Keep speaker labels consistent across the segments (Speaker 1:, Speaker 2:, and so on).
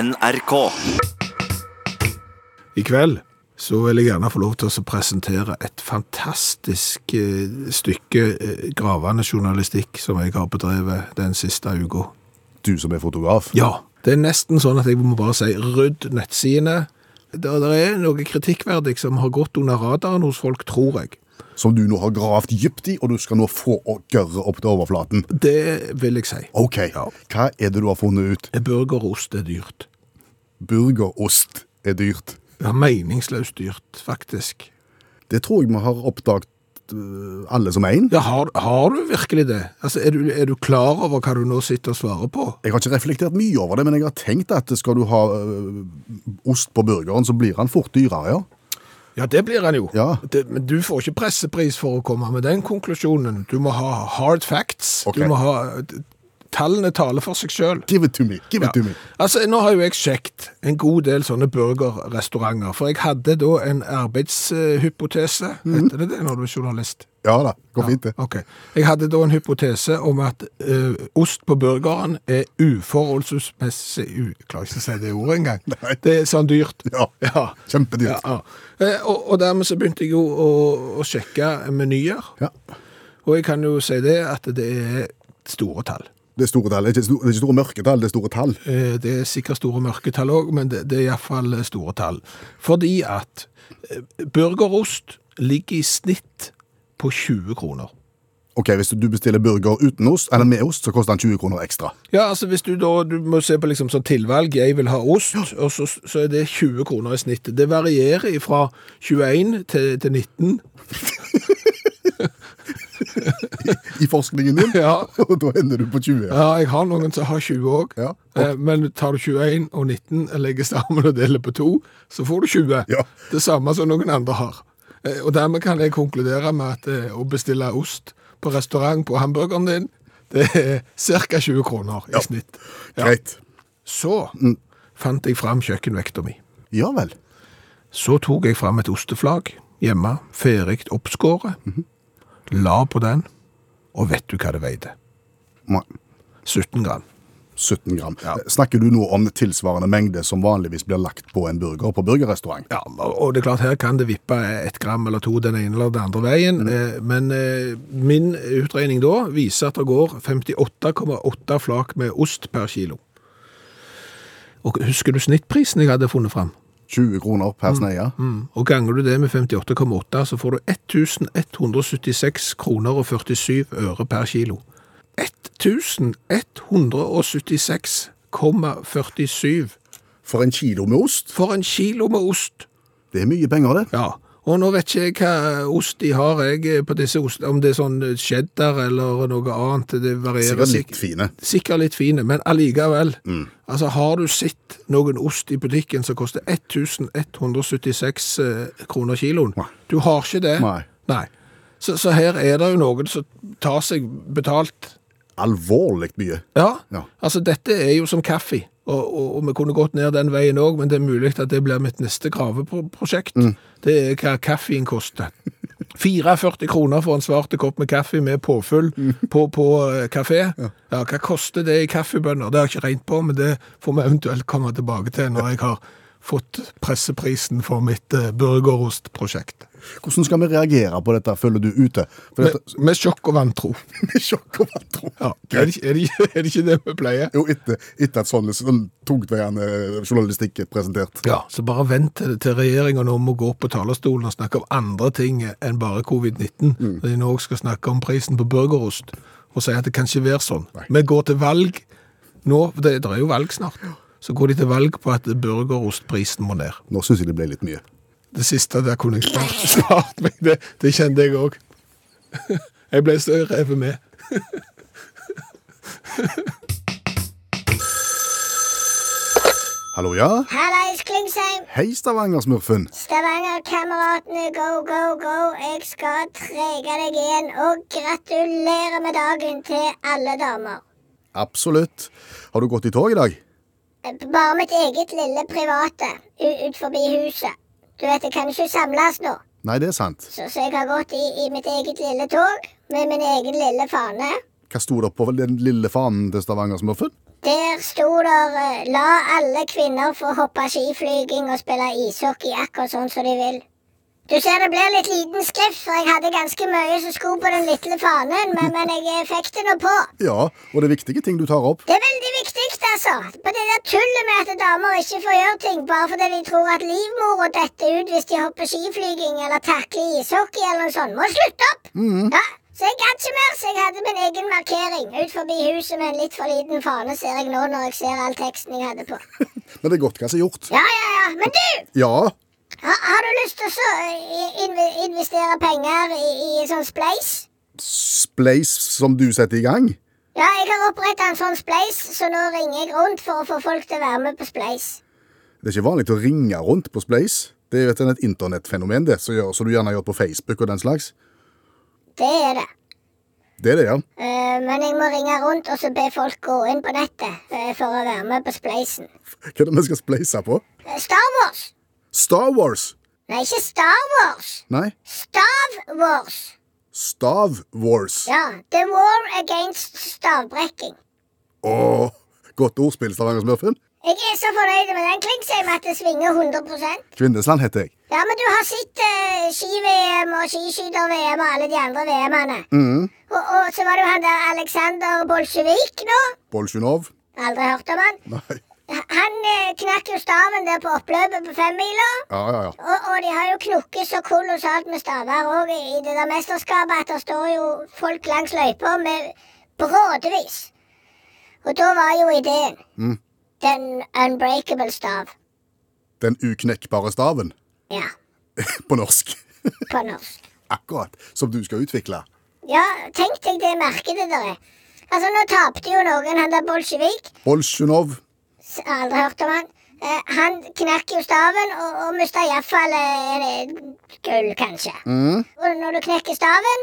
Speaker 1: NRK.
Speaker 2: I kveld så vil jeg gjerne få lov til å presentere et fantastisk eh, stykke eh, gravende journalistikk som jeg har bedrevet den siste uka.
Speaker 3: Du som er fotograf.
Speaker 2: Ja, det er nesten sånn at jeg må bare si rydd nettsidene. Det, det er noe kritikkverdig som har gått under radaren hos folk, tror jeg.
Speaker 3: Som du nå har gravd dypt i, og du skal nå få å gørre opp til overflaten.
Speaker 2: Det vil jeg si.
Speaker 3: Ok,
Speaker 2: Ja.
Speaker 3: hva er det du har funnet ut?
Speaker 2: Burgerost er dyrt.
Speaker 3: Burgerost er dyrt.
Speaker 2: Ja, meningsløst dyrt, faktisk.
Speaker 3: Det tror jeg vi har oppdaget øh, alle som en.
Speaker 2: Ja, har, har du virkelig det? Altså, er du, er du klar over hva du nå sitter og svarer på?
Speaker 3: Jeg har ikke reflektert mye over det, men jeg har tenkt at skal du ha øh, ost på burgeren, så blir han fort dyrere, ja.
Speaker 2: Ja, det blir han jo.
Speaker 3: Ja.
Speaker 2: Det, men du får ikke pressepris for å komme med den konklusjonen. Du må ha hard facts.
Speaker 3: Ok.
Speaker 2: Du må ha Tallene taler for seg sjøl.
Speaker 3: Give it to me, give it to me.
Speaker 2: Altså, nå har jo jeg sjekt en god del sånne burgerrestauranter, for jeg hadde da en arbeidshypotese, heter det det når du er journalist?
Speaker 3: Ja da, går fint Mhm. det.
Speaker 2: Ok. Jeg hadde da en hypotese om at eh, ost på burgeren er uforholdsmessig u- Jeg klarer ikke å si det ordet engang.
Speaker 3: Nei.
Speaker 2: Det er sånn dyrt.
Speaker 3: Ja,
Speaker 2: Ja.
Speaker 3: kjempedyrt.
Speaker 2: Ja, ja. Eh, Og, og dermed så begynte jeg jo å, å sjekke menyer,
Speaker 3: Ja.
Speaker 2: og jeg kan jo si det at det er store tall.
Speaker 3: Det er store tall, det er ikke store, det er ikke store mørketall, det er store tall.
Speaker 2: Eh, Det er sikkert store mørketall òg, men det, det er iallfall store tall. Fordi at eh, burgerost ligger i snitt på 20 kroner.
Speaker 3: Ok, hvis du bestiller burger uten ost, eller med ost, så koster han 20 kroner ekstra.
Speaker 2: Ja, altså hvis du da du må se på liksom sånn tilvalg, jeg vil ha ost, og så, så er det 20 kroner i snitt. Det varierer fra 21 til, til 19.
Speaker 3: I forskningen din,
Speaker 2: Ja.
Speaker 3: og da ender du på 20.
Speaker 2: ja, jeg har noen som har 20 òg.
Speaker 3: Ja.
Speaker 2: Eh, Men tar du 21 og 19, legger sammen og deler på to, så får du 20.
Speaker 3: Ja.
Speaker 2: Det samme som noen andre har. Eh, Og dermed kan jeg konkludere med at eh, å bestille ost på restaurant på hamburgeren din, det er ca. 20 kroner i snitt.
Speaker 3: Greit.
Speaker 2: Så
Speaker 3: Mm.
Speaker 2: fant jeg fram kjøkkenvekta mi.
Speaker 3: Ja vel.
Speaker 2: Så tok jeg fram et osteflag hjemme, ferdig oppskåret,
Speaker 3: Mhm.
Speaker 2: la på den, og vet du hva det veide?
Speaker 3: Nei,
Speaker 2: 17 gram.
Speaker 3: 17 gram.
Speaker 2: Ja.
Speaker 3: Snakker du nå om tilsvarende mengde som vanligvis blir lagt på en burger på burgerrestaurant?
Speaker 2: Ja, og det er klart her kan det vippe ett gram eller to den ene eller den andre veien, eh, men eh, min utregning da viser at det går 58,8 flak med ost per kilo. Og husker du snittprisen jeg hadde funnet fram?
Speaker 3: 20 kroner per sneie.
Speaker 2: Mm. Og ganger du det med 58,8, så får du 1176 kroner og 47 øre per kilo. 1176,47
Speaker 3: For en kilo med ost?
Speaker 2: for en kilo med ost!
Speaker 3: Det er mye penger, det.
Speaker 2: Ja, og nå vet ikke jeg hva ost de har, jeg, på disse ost, om det er sånn cheddar eller noe annet, det varierer
Speaker 3: Sikkert
Speaker 2: sikk-
Speaker 3: litt Mm. fine.
Speaker 2: Sikkert litt fine, men allikevel. Altså, har du sett noen ost i butikken som koster 1176 eh, kroner kiloen?
Speaker 3: Nei.
Speaker 2: Du har ikke det?
Speaker 3: Nei.
Speaker 2: Så, så her er det jo noen som tar seg betalt.
Speaker 3: Alvorlig mye.
Speaker 2: Ja.
Speaker 3: Ja.
Speaker 2: Altså, dette er jo som kaffe, og, og, og vi kunne gått ned den veien òg, men det er mulig at det blir mitt neste graveprosjekt. Det er hva kaffen koster. 44 kroner for en svarte kopp med kaffe med påfyll på, på eh, kafé. Ja. hva koster det i kaffebønner? Det har jeg ikke regnet på, men det får vi eventuelt komme tilbake til når jeg har fått presseprisen for mitt eh, burgerostprosjekt.
Speaker 3: Hvordan skal vi reagere på dette, føler du ute? For
Speaker 2: Med,
Speaker 3: dette
Speaker 2: med sjokk og vantro.
Speaker 3: med sjokk og vantro.
Speaker 2: Ja. Er, det, ikke- er, det, ikke- er det ikke det vi pleier?
Speaker 3: Jo, etter, etter at sånn, sånn tungtveiende journalistikk er presentert.
Speaker 2: Ja, så bare vent til, til regjeringen nå må gå opp på talerstolen og snakke om andre ting enn bare covid-19. Når de nå også skal snakke om prisen på burgerost, og si at det kan ikke være sånn. Vi går til valg nå, for det, det er jo valg snart. Så går de til valg på at burgerostprisen må ned.
Speaker 3: Nå syns jeg det ble litt mye.
Speaker 2: Det siste der kunne jeg spart, spart meg, det, det kjente jeg òg. Jeg ble så revet med.
Speaker 3: Hallo, ja?
Speaker 4: Hallais, Klingsheim!
Speaker 3: Hei, Stavanger-smurfen.
Speaker 4: Stavanger-kameratene, go, go, go! Jeg skal trege deg igjen. Og gratulerer med dagen til alle damer.
Speaker 3: Absolutt. Har du gått i tog i dag?
Speaker 4: Bare mitt eget lille private u- ut forbi huset. Du vet, jeg kan ikke samles nå,
Speaker 3: Nei, det er sant.
Speaker 4: så, så jeg har gått i, i mitt eget lille tog med min egen lille fane.
Speaker 3: Hva sto det på den lille fanen til Stavanger-smurfen?
Speaker 4: Der sto der eh, 'La alle kvinner få hoppe skiflyging og spille ishockey akkurat sånn som de vil'. Du ser det blir litt liten skrift, for jeg hadde ganske mye som skulle på den lille fanen, men, men jeg eh, fikk det nå på.
Speaker 3: Ja, og det er viktige ting du tar opp.
Speaker 4: Det er veldig viktig, altså. På det der tullet med at damer ikke får gjøre ting bare fordi de tror at livmora detter ut hvis de hopper skiflyging eller takler ishockey eller noe sånt, må slutte opp. Ja, så jeg gadd ikke mer, så jeg hadde min egen markering ut forbi huset med en litt for liten fane, ser jeg nå når jeg ser all teksten jeg hadde på.
Speaker 3: Men det er godt hva som er gjort.
Speaker 4: Ja, ja, ja. Men du,
Speaker 3: Ja,
Speaker 4: ha, har du lyst til å så, eh, inve- investere penger i, i sånn spleis?
Speaker 3: spleis som du setter i gang.
Speaker 4: Ja, jeg har oppretta en sånn spleis, så nå ringer jeg rundt for å få folk til å være med på spleis.
Speaker 3: Det er ikke vanlig å ringe rundt på spleis. Det er jo et, et internettfenomen, det, som gjør- som du gjerne gjør på Facebook og den slags.
Speaker 4: Det er det.
Speaker 3: Det er det, ja.
Speaker 4: Eh, men jeg må ringe rundt og så be folk gå inn på nettet eh, for å være med på spleisen.
Speaker 3: Hva er det vi skal spleise på?
Speaker 4: Eh, Star Wars!
Speaker 3: Star Wars!
Speaker 4: Nei, ikke Star Wars.
Speaker 3: Nei,
Speaker 4: Stav Wars.
Speaker 3: Stav Wars.
Speaker 4: Ja. The War Against Stavbrekking.
Speaker 3: Åh, godt ordspill, Stavanger-smurfen.
Speaker 4: Jeg er så fornøyd med den Klingsheim at det svinger 100
Speaker 3: Kvindesland heter jeg.
Speaker 4: Ja, men du har sett eh, ski-VM og skiskyter-VM og alle de andre VM-ene.
Speaker 3: Mhm.
Speaker 4: Og, og så var det jo han der Aleksandr Bolsjevik nå.
Speaker 3: Bolsjunov.
Speaker 4: Aldri hørt om han.
Speaker 3: Nei.
Speaker 4: H- Han eh, knakk jo staven der på oppløpet på femmila.
Speaker 3: Ja, ja, ja.
Speaker 4: Og, og de har jo knukket så kolossalt med staver òg i i det der mesterskapet at det står jo folk langs løypa med brådevis. Og da var jo ideen
Speaker 3: Mm.
Speaker 4: den unbreakable stav.
Speaker 3: Den uknekkbare staven.
Speaker 4: Ja,
Speaker 3: På norsk.
Speaker 4: på norsk.
Speaker 3: Akkurat. Som du skal utvikle.
Speaker 4: Ja, tenk deg det markedet der er. Altså, nå tapte jo noen, han der Bolsjevik.
Speaker 3: Bolsjunov.
Speaker 4: S- Aldri hørt om han. Eh, han knakk jo staven og, og mista iallfall eh, en- gull, kanskje.
Speaker 3: Mhm.
Speaker 4: Og når du knekker staven,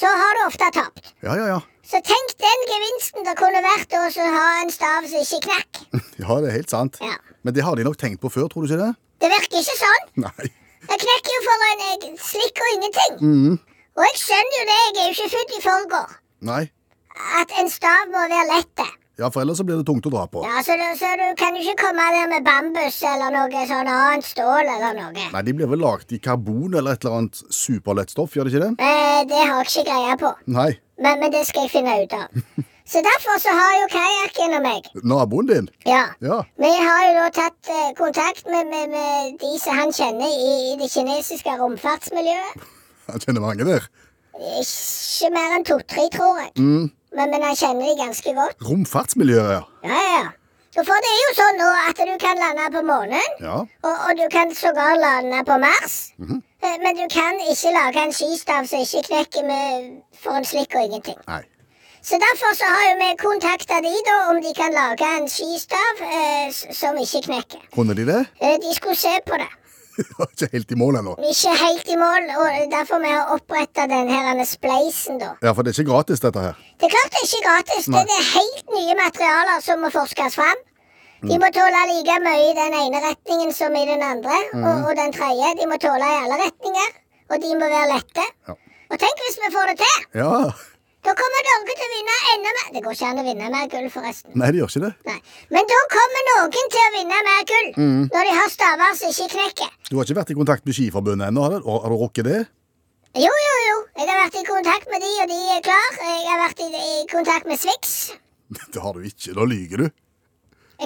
Speaker 4: så har du ofte tapt.
Speaker 3: Ja, ja, ja.
Speaker 4: Så tenk den gevinsten det kunne vært å så ha en stav som ikke knakk.
Speaker 3: Ja, det er helt sant.
Speaker 4: Ja.
Speaker 3: Men det har de nok tenkt på før, tror du ikke det?
Speaker 4: Det virker ikke sånn.
Speaker 3: Nei.
Speaker 4: Jeg knekker jo for en jeg, slikk og ingenting. Og jeg skjønner jo det, jeg er jo ikke født i forgår,
Speaker 3: Nei.
Speaker 4: at en stav må være lett.
Speaker 3: Ja, for ellers så blir det tungt å dra på.
Speaker 4: Ja, så, du- så du kan jo ikke komme der med bambus eller noe sånn annet stål eller noe.
Speaker 3: Nei, de blir vel lagd i karbon eller et eller annet superlett stoff, gjør de ikke det?
Speaker 4: Eh, det har jeg ikke greie på,
Speaker 3: Nei.
Speaker 4: men, men det skal jeg finne ut av. Så derfor så har jo kajakken og meg
Speaker 3: Naboen din?
Speaker 4: Ja.
Speaker 3: Ja.
Speaker 4: Vi har jo da tatt eh, kontakt med, med, med de som han kjenner i, i det kinesiske romfartsmiljøet.
Speaker 3: Han kjenner mange der.
Speaker 4: Ikke mer enn to-tre, tror jeg.
Speaker 3: Mm.
Speaker 4: Men, men han kjenner de ganske godt.
Speaker 3: Romfartsmiljøet, ja.
Speaker 4: Ja, ja, ja. Så For det er jo sånn nå at du kan lande på månen,
Speaker 3: Ja.
Speaker 4: og, og du kan sågar lande på Mars. Eh, Men du kan ikke lage en skistav som ikke knekker med for en slikk og ingenting.
Speaker 3: Nei.
Speaker 4: Så derfor så har jo vi kontakta de da om de kan lage en skistav eh, s- som ikke knekker.
Speaker 3: Kunne de det?
Speaker 4: Eh, de skulle se på det.
Speaker 3: Ja, ikke helt i mål ennå.
Speaker 4: Vi er ikke helt i mål, og derfor vi har oppretta denne spleisen, da.
Speaker 3: Ja, for det er ikke gratis, dette her.
Speaker 4: Det er klart det er ikke gratis.
Speaker 3: Nei.
Speaker 4: Det er helt nye materialer som må forskes fram.
Speaker 3: Mm.
Speaker 4: De må tåle like mye i den ene retningen som i den andre, og,
Speaker 3: Mm.
Speaker 4: og den tredje. De må tåle i alle retninger, og de må være lette.
Speaker 3: Ja.
Speaker 4: Og tenk hvis vi får det til!
Speaker 3: Ja.
Speaker 4: Da kommer Norge til å vinne enda mer Det går ikke an å vinne mer gull, forresten.
Speaker 3: Nei, de gjør ikke det.
Speaker 4: Nei. Men da kommer noen til å vinne mer gull,
Speaker 3: Mm.
Speaker 4: når de har staver som ikke knekker.
Speaker 3: Du har ikke vært i kontakt med Skiforbundet ennå, har du? Har du rukket det?
Speaker 4: Jo, jo, jo. Jeg har vært i kontakt med de, og de er klar. Jeg har vært i, i kontakt med Swix.
Speaker 3: Det har du ikke. Da lyver du.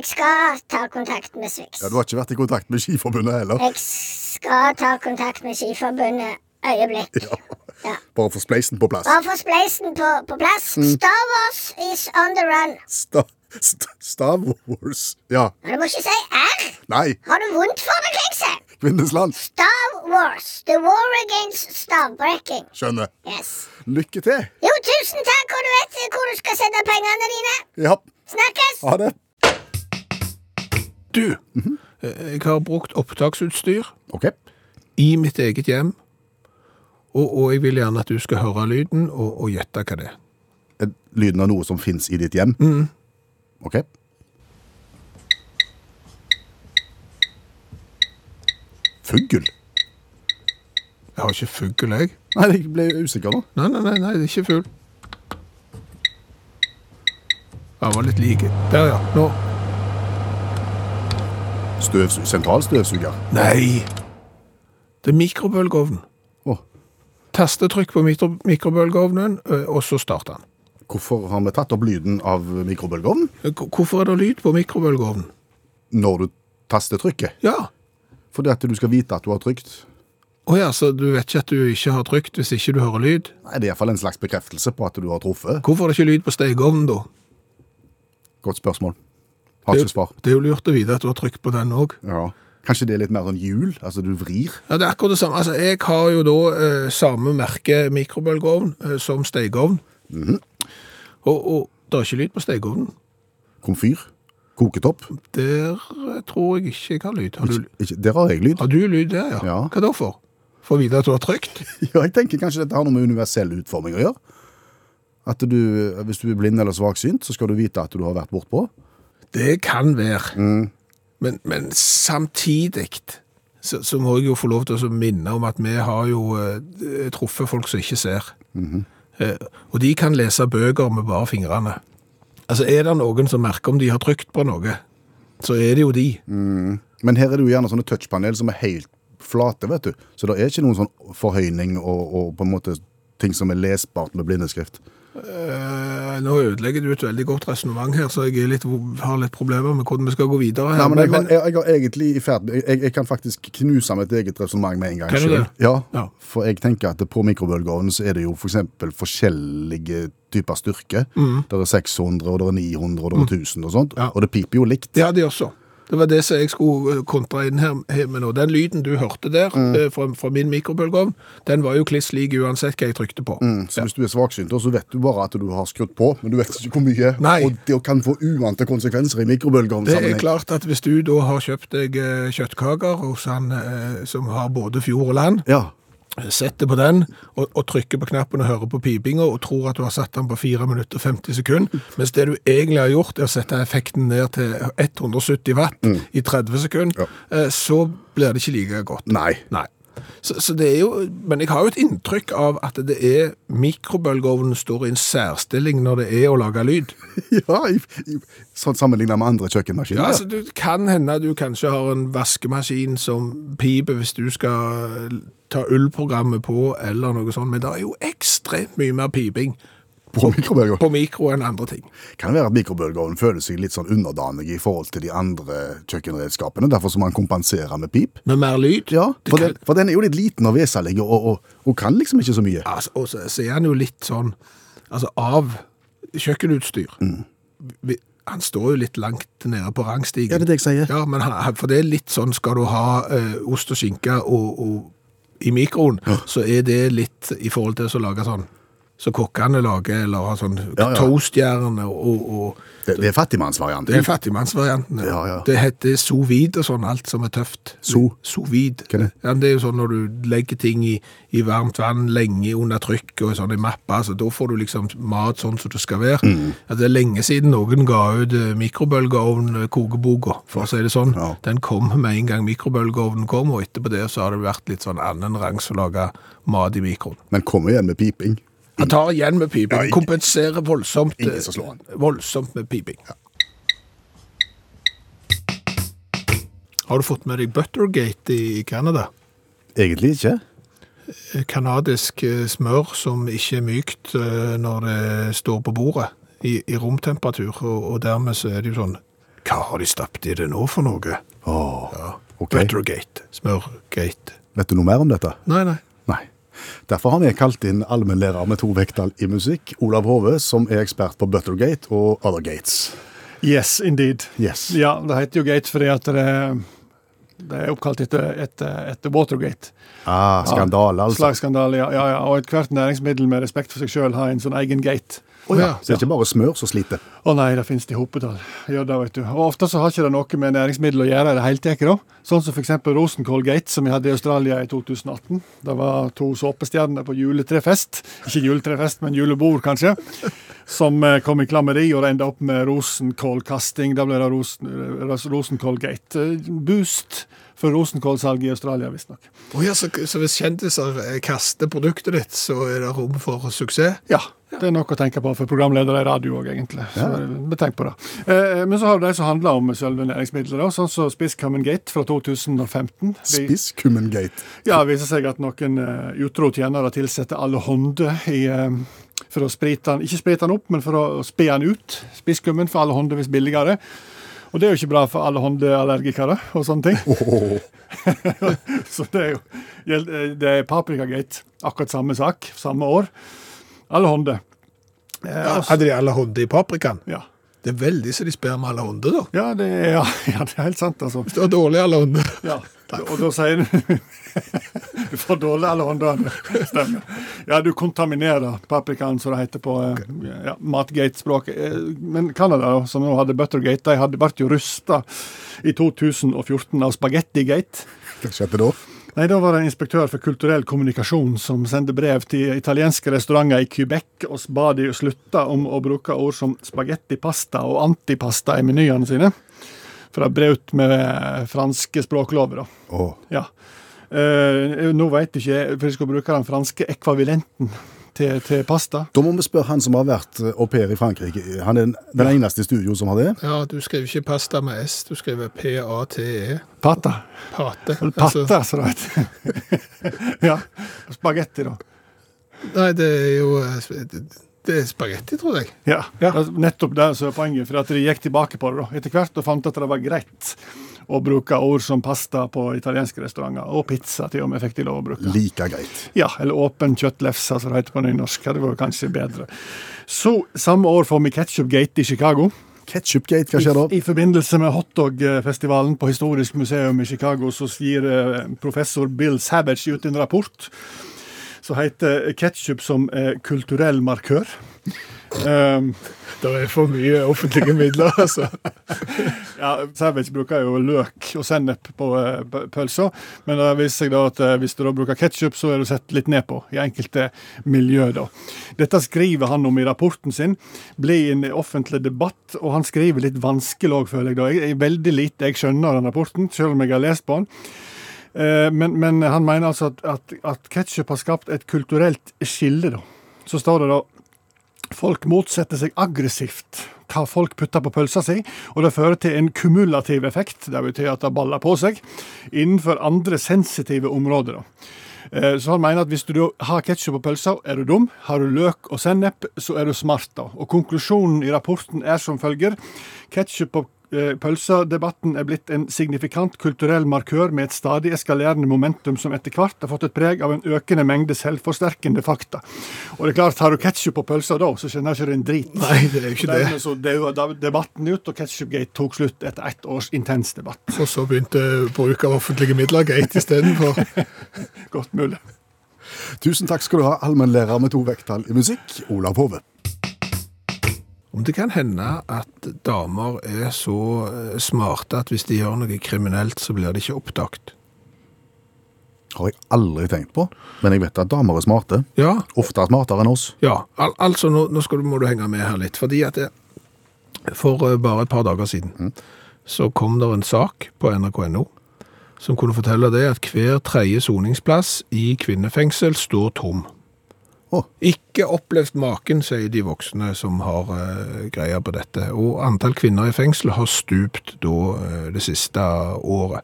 Speaker 4: Jeg skal ta kontakt med Swix.
Speaker 3: Ja, Du har ikke vært i kontakt med Skiforbundet heller.
Speaker 4: Jeg skal ta kontakt med Skiforbundet øyeblikk.
Speaker 3: Ja.
Speaker 4: Ja.
Speaker 3: Bare få spleisen på plass.
Speaker 4: Bare få spleisen på, på plass.
Speaker 3: Mm.
Speaker 4: Star Wars is on the run.
Speaker 3: Sta st Star Wars. Ja.
Speaker 4: Og du må ikke si R.
Speaker 3: Nei,
Speaker 4: Har du vondt for det, Klingsheim?
Speaker 3: Kvinnesland.
Speaker 4: Star Wars. The war against stavbrekking.
Speaker 3: Skjønner.
Speaker 4: Yes.
Speaker 3: Lykke til.
Speaker 4: Jo, tusen takk, og du vet hvor du skal sette pengene dine.
Speaker 3: Ja,
Speaker 4: Snakkes!
Speaker 3: ha det.
Speaker 2: Du, Eh, jeg har brukt opptaksutstyr
Speaker 3: OK.
Speaker 2: i mitt eget hjem, og, og jeg vil gjerne at du skal høre lyden og, og gjette hva det er.
Speaker 3: Er Lyden av noe som fins i ditt hjem? OK. Fugl?
Speaker 2: Jeg har ikke fugl, jeg.
Speaker 3: Nei, jeg ble usikker nå.
Speaker 2: Nei, nei, nei, nei det er ikke fugl. Ja, var litt like. Der, ja. Nå.
Speaker 3: Støvsu sentralstøvsuger.
Speaker 2: Nei. Det er mikrobølgeovnen.
Speaker 3: Åh,
Speaker 2: Tastetrykk på mikro mikrobølgeovnen, ø, og så starter den.
Speaker 3: hvorfor har vi tatt opp lyden av mikrobølgeovnen?
Speaker 2: H- Hvorfor er det lyd på mikrobølgeovnen?
Speaker 3: Når du taster trykket.
Speaker 2: Ja.
Speaker 3: Fordi at du skal vite at du har trykt.
Speaker 2: Å ja, så du vet ikke at du ikke har trykt hvis ikke du hører lyd?
Speaker 3: Nei, Det er iallfall en slags bekreftelse på at du har truffet.
Speaker 2: Hvorfor er det ikke lyd på stekeovnen, da?
Speaker 3: Godt spørsmål. Har ikke svar.
Speaker 2: Det er jo lurt å vite at du har trykt på den òg.
Speaker 3: Ja. Kanskje det er litt mer sånn hjul? Altså du vrir?
Speaker 2: Ja, det er akkurat det samme. Altså, jeg har jo da eh, samme merke mikrobølgeovn eh, som stekeovn. Og, og det er ikke lyd på stekeovnen.
Speaker 3: Komfyr? Koketopp?
Speaker 2: Der eh, tror jeg ikke jeg har lyd. Har du,
Speaker 3: Ikke, der har jeg lyd.
Speaker 2: har du lyd der, ja?
Speaker 3: Ja.
Speaker 2: Hva da for? For å vite at du har trykt?
Speaker 3: Ja, jeg tenker kanskje dette har noe med universell utforming å gjøre. At du, Hvis du er blind eller svaksynt, så skal du vite at du har vært bortpå.
Speaker 2: Det kan være.
Speaker 3: Mm.
Speaker 2: Men, men samtidig så, så må jeg jo få lov til å minne om at vi har jo eh, truffet folk som ikke ser.
Speaker 3: Mhm.
Speaker 2: eh, og de kan lese bøker med bare fingrene. Altså, er det noen som merker om de har trykt på noe, så er det jo de.
Speaker 3: Mm. Men her er det jo gjerne sånne touchpanel som er helt flate, vet du. Så det er ikke noen sånn forhøyning og, og på en måte ting som er lesbart med blindeskrift.
Speaker 2: Eh, nå ødelegger du et veldig godt resonnement her, så jeg er litt, har litt problemer med hvordan vi skal gå videre. her.
Speaker 3: Nei, men jeg,
Speaker 2: Men-
Speaker 3: har- jeg, jeg har egentlig i ferd jeg, jeg kan faktisk knuse mitt eget resonnement med en gang.
Speaker 2: Kan du
Speaker 3: selv.
Speaker 2: det?
Speaker 3: Ja,
Speaker 2: Ja.
Speaker 3: For jeg tenker at på mikrobølgeovnen så er det jo f.eks. forskjellige typer styrke. Der er 600, og der er 900, og der er 1000 og sånt.
Speaker 2: Mm. Ja.
Speaker 3: Og det piper jo likt.
Speaker 2: Det hadde jeg også. Det var det som jeg skulle eh, kontra inn her her med nå. Den lyden du hørte der eh, fra, fra min mikrobølgeovn, den var jo kliss lik uansett hva jeg trykte på.
Speaker 3: Så hvis du er svaksynt, så vet du bare at du har skrudd på, men du vet ikke hvor mye.
Speaker 2: Nei.
Speaker 3: Og det kan få uante konsekvenser
Speaker 2: Det
Speaker 3: i
Speaker 2: er
Speaker 3: mikrobølgeovnsammenheng.
Speaker 2: klart at hvis du da har kjøpt deg eh, kjøttkaker hos han eh, som har både fjord og land,
Speaker 3: Ja.
Speaker 2: setter på den og, og trykker på knappen og hører på pipinga og tror at du har satt den på 4 minutter og 50 sekunder, mens det du egentlig har gjort er å sette effekten ned til 170 watt i 30 sekunder, eh, så blir det ikke like godt.
Speaker 3: Nei.
Speaker 2: Nei. Så, så det er jo, men jeg har jo et inntrykk av at det er mikrobølgeovnen står i en særstilling når det er å lage lyd.
Speaker 3: Ja, i, i, sånn sammenlignet med andre kjøkkenmaskiner.
Speaker 2: Ja, altså, du kan hende du kanskje har en vaskemaskin som piper hvis du skal ta ullprogrammet på eller noe sånt, men det er jo ekstremt mye mer piping
Speaker 3: på mikrobølgeovn.
Speaker 2: på mikro enn andre ting.
Speaker 3: Kan det være at mikrobølgeovnen føler seg litt sånn underdanig i forhold til de andre kjøkkenredskapene, derfor så må han kompensere med pip?
Speaker 2: Med mer lyd.
Speaker 3: Ja,
Speaker 2: Det
Speaker 3: for
Speaker 2: kan-
Speaker 3: den, for den er jo litt liten og veselig, og, og, og kan liksom ikke så mye.
Speaker 2: Altså, og så, så er han jo litt sånn Altså, av kjøkkenutstyr
Speaker 3: Mm.
Speaker 2: vi, Han står jo litt langt nede på rangstigen.
Speaker 3: Ja, det er det jeg sier.
Speaker 2: Ja, men han, for det er litt sånn Skal du ha eh, ost og skinke og, og i mikroen, så er det litt i forhold til å lage sånn Så kokkene lager, eller har sånn
Speaker 3: Ja, ja.
Speaker 2: toastjern og, og
Speaker 3: Det, det er fattigmannsvarianten.
Speaker 2: Det er fattigmannsvarianten.
Speaker 3: Ja, ja.
Speaker 2: Det heter sous vide og sånn, alt som er tøft.
Speaker 3: Sous?
Speaker 2: Sous vide.
Speaker 3: Hva er det?
Speaker 2: Ja, det er jo sånn når du legger ting i, i varmt vann lenge under trykk og sånn i mappa, så da får du liksom mat sånn som det skal være.
Speaker 3: Mm.
Speaker 2: Ja, det er lenge siden noen ga ut eh, mikrobølgeovn-kokeboka, for å si det sånn.
Speaker 3: Ja.
Speaker 2: Den kom med en gang mikrobølgeovnen kom, og etterpå det så har det vært litt sånn annen rangs å lage mat i mikroen.
Speaker 3: Men kom igjen med piping.
Speaker 2: Han tar igjen med
Speaker 3: Ja,
Speaker 2: piping,
Speaker 3: ingen-
Speaker 2: kompenserer voldsomt,
Speaker 3: Ingen
Speaker 2: eh,
Speaker 3: som slår han.
Speaker 2: voldsomt med piping. Har du fått med deg Buttergate i Canada?
Speaker 3: Egentlig ikke.
Speaker 2: Eh, Kanadisk eh, smør som ikke er mykt eh, når det står på bordet i, i romtemperatur, og, og dermed så er det jo sånn Hva har de stappet i det nå for noe?
Speaker 3: Åh, ok.
Speaker 2: Buttergate. Smørgate.
Speaker 3: Vet du noe mer om dette?
Speaker 2: Nei, nei.
Speaker 3: Nei. Derfor har vi kalt inn allmennlærer med to vekttall i musikk, Olav Hove, som er ekspert på Buttergate og Other Gates.
Speaker 1: Yes, indeed.
Speaker 3: Yes.
Speaker 1: Ja, det heter jo Gates fordi at det, det er oppkalt etter, etter, etter Watergate.
Speaker 3: Ah, skandale, altså.
Speaker 1: Slags skandale, ja, ja, ja. Og ethvert næringsmiddel med respekt for seg sjøl har en sånn egen gate.
Speaker 3: Å ja.
Speaker 2: Ja.
Speaker 3: Så det er ikke bare smør som sliter.
Speaker 1: Å nei, det finnes det i hopetall. Gjør det, vet du. Og ofte så har ikke det noe med næringsmiddel å gjøre i det hele tatt, da. Sånn som f.eks. Rosenkoll Gate, som vi hadde i Australia i 2018. Det var to såpestjerner på juletrefest. Ikke juletrefest, men julebord, kanskje. Som eh, kom i klammeri og det enda opp med rosenkålkasting. Da ble det rosen, Rosenkoll Gate. Eh, Boost for rosenkålsalget i Australia, visstnok.
Speaker 2: Å ja, så, så hvis kjendiser eh, kaster produktet ditt, så er det rom for suksess?
Speaker 1: Ja. Det er nok å tenke på for programledere i radio òg, egentlig. Så eh, tenk på det. Eh, men så har du de som handler om selve næringsmiddelet, da, sånn som Spisskammen Gate fra 2015. Vi-
Speaker 3: Spisskummengate.
Speaker 1: Ja, det viser seg at noen eh, utro tjenere tilsetter alle hånder i eh, for å sprite den, ikke sprite den opp, men for å spe den ut. Spisskummen for alle hånder hvis billigere. Og det er jo ikke bra for alle håndeallergikere og sånne ting. Så det er jo gjeld- eh, det er paprikagate. Akkurat samme sak, samme år. Alle hånder.
Speaker 2: Hadde de alle hånder i paprikaen?
Speaker 1: Ja.
Speaker 2: Det er veldig så de spør med alle hånder, da.
Speaker 1: Ja, det er, ja, ja, det er helt sant, altså.
Speaker 2: Det var dårlig alle hånder.
Speaker 1: Ja, og da sier du Du får dårlig alle håndene. Stemmer. Ja, du kontaminerer paprikaen, som det heter på eh, ja, matgate-språket. Eh, Men Canada, da, som nå hadde Buttergate, de hadde ble jo rusta i 2014 av Spagettigate.
Speaker 3: Hva skjedde da?
Speaker 1: Nei, Da var det en inspektør for kulturell kommunikasjon som sendte brev til italienske restauranter i Quebec og ba de slutte om å bruke ord som spagettipasta og antipasta i menyene sine. For det brøt med eh, franske språklover. da.
Speaker 3: Åh,
Speaker 1: Ja. Eh, nå veit ikke jeg, for jeg skal bruke den franske ekvavilenten til, til pasta.
Speaker 3: Da må vi spørre han som har vært eh, au pair i Frankrike. Han er den, den eneste i studio som har det.
Speaker 2: Ja, du skriver ikke pasta med S, du skriver P-A-T-E.
Speaker 1: Pata.
Speaker 2: Pate.
Speaker 1: Eller
Speaker 2: Altså,
Speaker 1: patta, som det heter. ja. Spagetti, da.
Speaker 2: nei, det er jo eh, det- Det er spagetti, tror jeg.
Speaker 1: Ja. Altså, Nettopp det som er poenget, for at de gikk tilbake på det da, etter hvert og fant at det var greit å bruke ord som pasta på italienske restauranter. Og pizza, til og med, fikk de lov å bruke.
Speaker 3: Like greit.
Speaker 1: Ja, eller åpen kjøttlefse, som det heter på nynorsk. Det var kanskje bedre. Så, samme år får vi Ketchupgate i Chicago.
Speaker 3: Ketchupgate, hva skjer da?
Speaker 1: I, I forbindelse med hotdog-festivalen på Historisk museum i Chicago så gir eh, professor Bill Savage ut en rapport som heter 'Ketchup som eh, kulturell markør'. Um,
Speaker 2: Det er for mye offentlige midler, altså.
Speaker 1: ja, Savage bruker jo løk og sennep på eh, p- pølser, men det viser seg da at eh, hvis du da bruker ketsjup, så er du sett litt ned på i enkelte miljø. da. Dette skriver han om i rapporten sin. Blir en offentlig debatt, og han skriver litt vanskelig òg, føler jeg. da. Jeg, jeg veldig lite jeg skjønner av den rapporten, selv om jeg har lest på den. Eh, Men, men han mener altså at, at, at ketsjup har skapt et kulturelt skille, da. Så står det da Folk motsetter seg aggressivt hva folk putter på pølsa si, og det fører til en kumulativ effekt, det betyr at det baller på seg, innenfor andre sensitive områder. da. Eh, Så han mener at hvis du da har ketsjup på pølsa, er du dum. Har du løk og sennep, så er du smart. da. Og konklusjonen i rapporten er som følger. Ketsjup på eh, pølsa-debatten er blitt en signifikant kulturell markør med et stadig eskalerende momentum som etter hvert har fått et preg av en økende mengde selvforsterkende fakta. Og det er klart, har du ketsjup på pølsa da, så skjønner ikke du en drit.
Speaker 2: Nei, det er jo ikke det.
Speaker 1: Dermed så daua da- debatten ut, og Ketchupgate tok slutt etter ett års intens debatt.
Speaker 2: Og så begynte bruk av offentlige midler greit istedenfor.
Speaker 1: Godt mulig.
Speaker 3: Tusen takk skal du ha, allmennlærer med to vekttall i musikk, Olav Hove.
Speaker 2: Om det kan hende at damer er så eh, smarte at hvis de gjør noe kriminelt, så blir det ikke oppdaget.
Speaker 3: Har jeg aldri tenkt på, men jeg vet at damer er smarte.
Speaker 2: Ja,
Speaker 3: Ofte er smartere enn oss.
Speaker 2: Ja, al altså nå, nå skal du, må du henge med her litt, fordi at det, for eh, bare et par dager siden så kom det en sak på NRK.no som kunne fortelle det at hver tredje soningsplass i kvinnefengsel står tom.
Speaker 3: Å.
Speaker 2: Ikke opplevd maken, sier de voksne som har eh, greia på dette. Og antall kvinner i fengsel har stupt da eh, det siste året.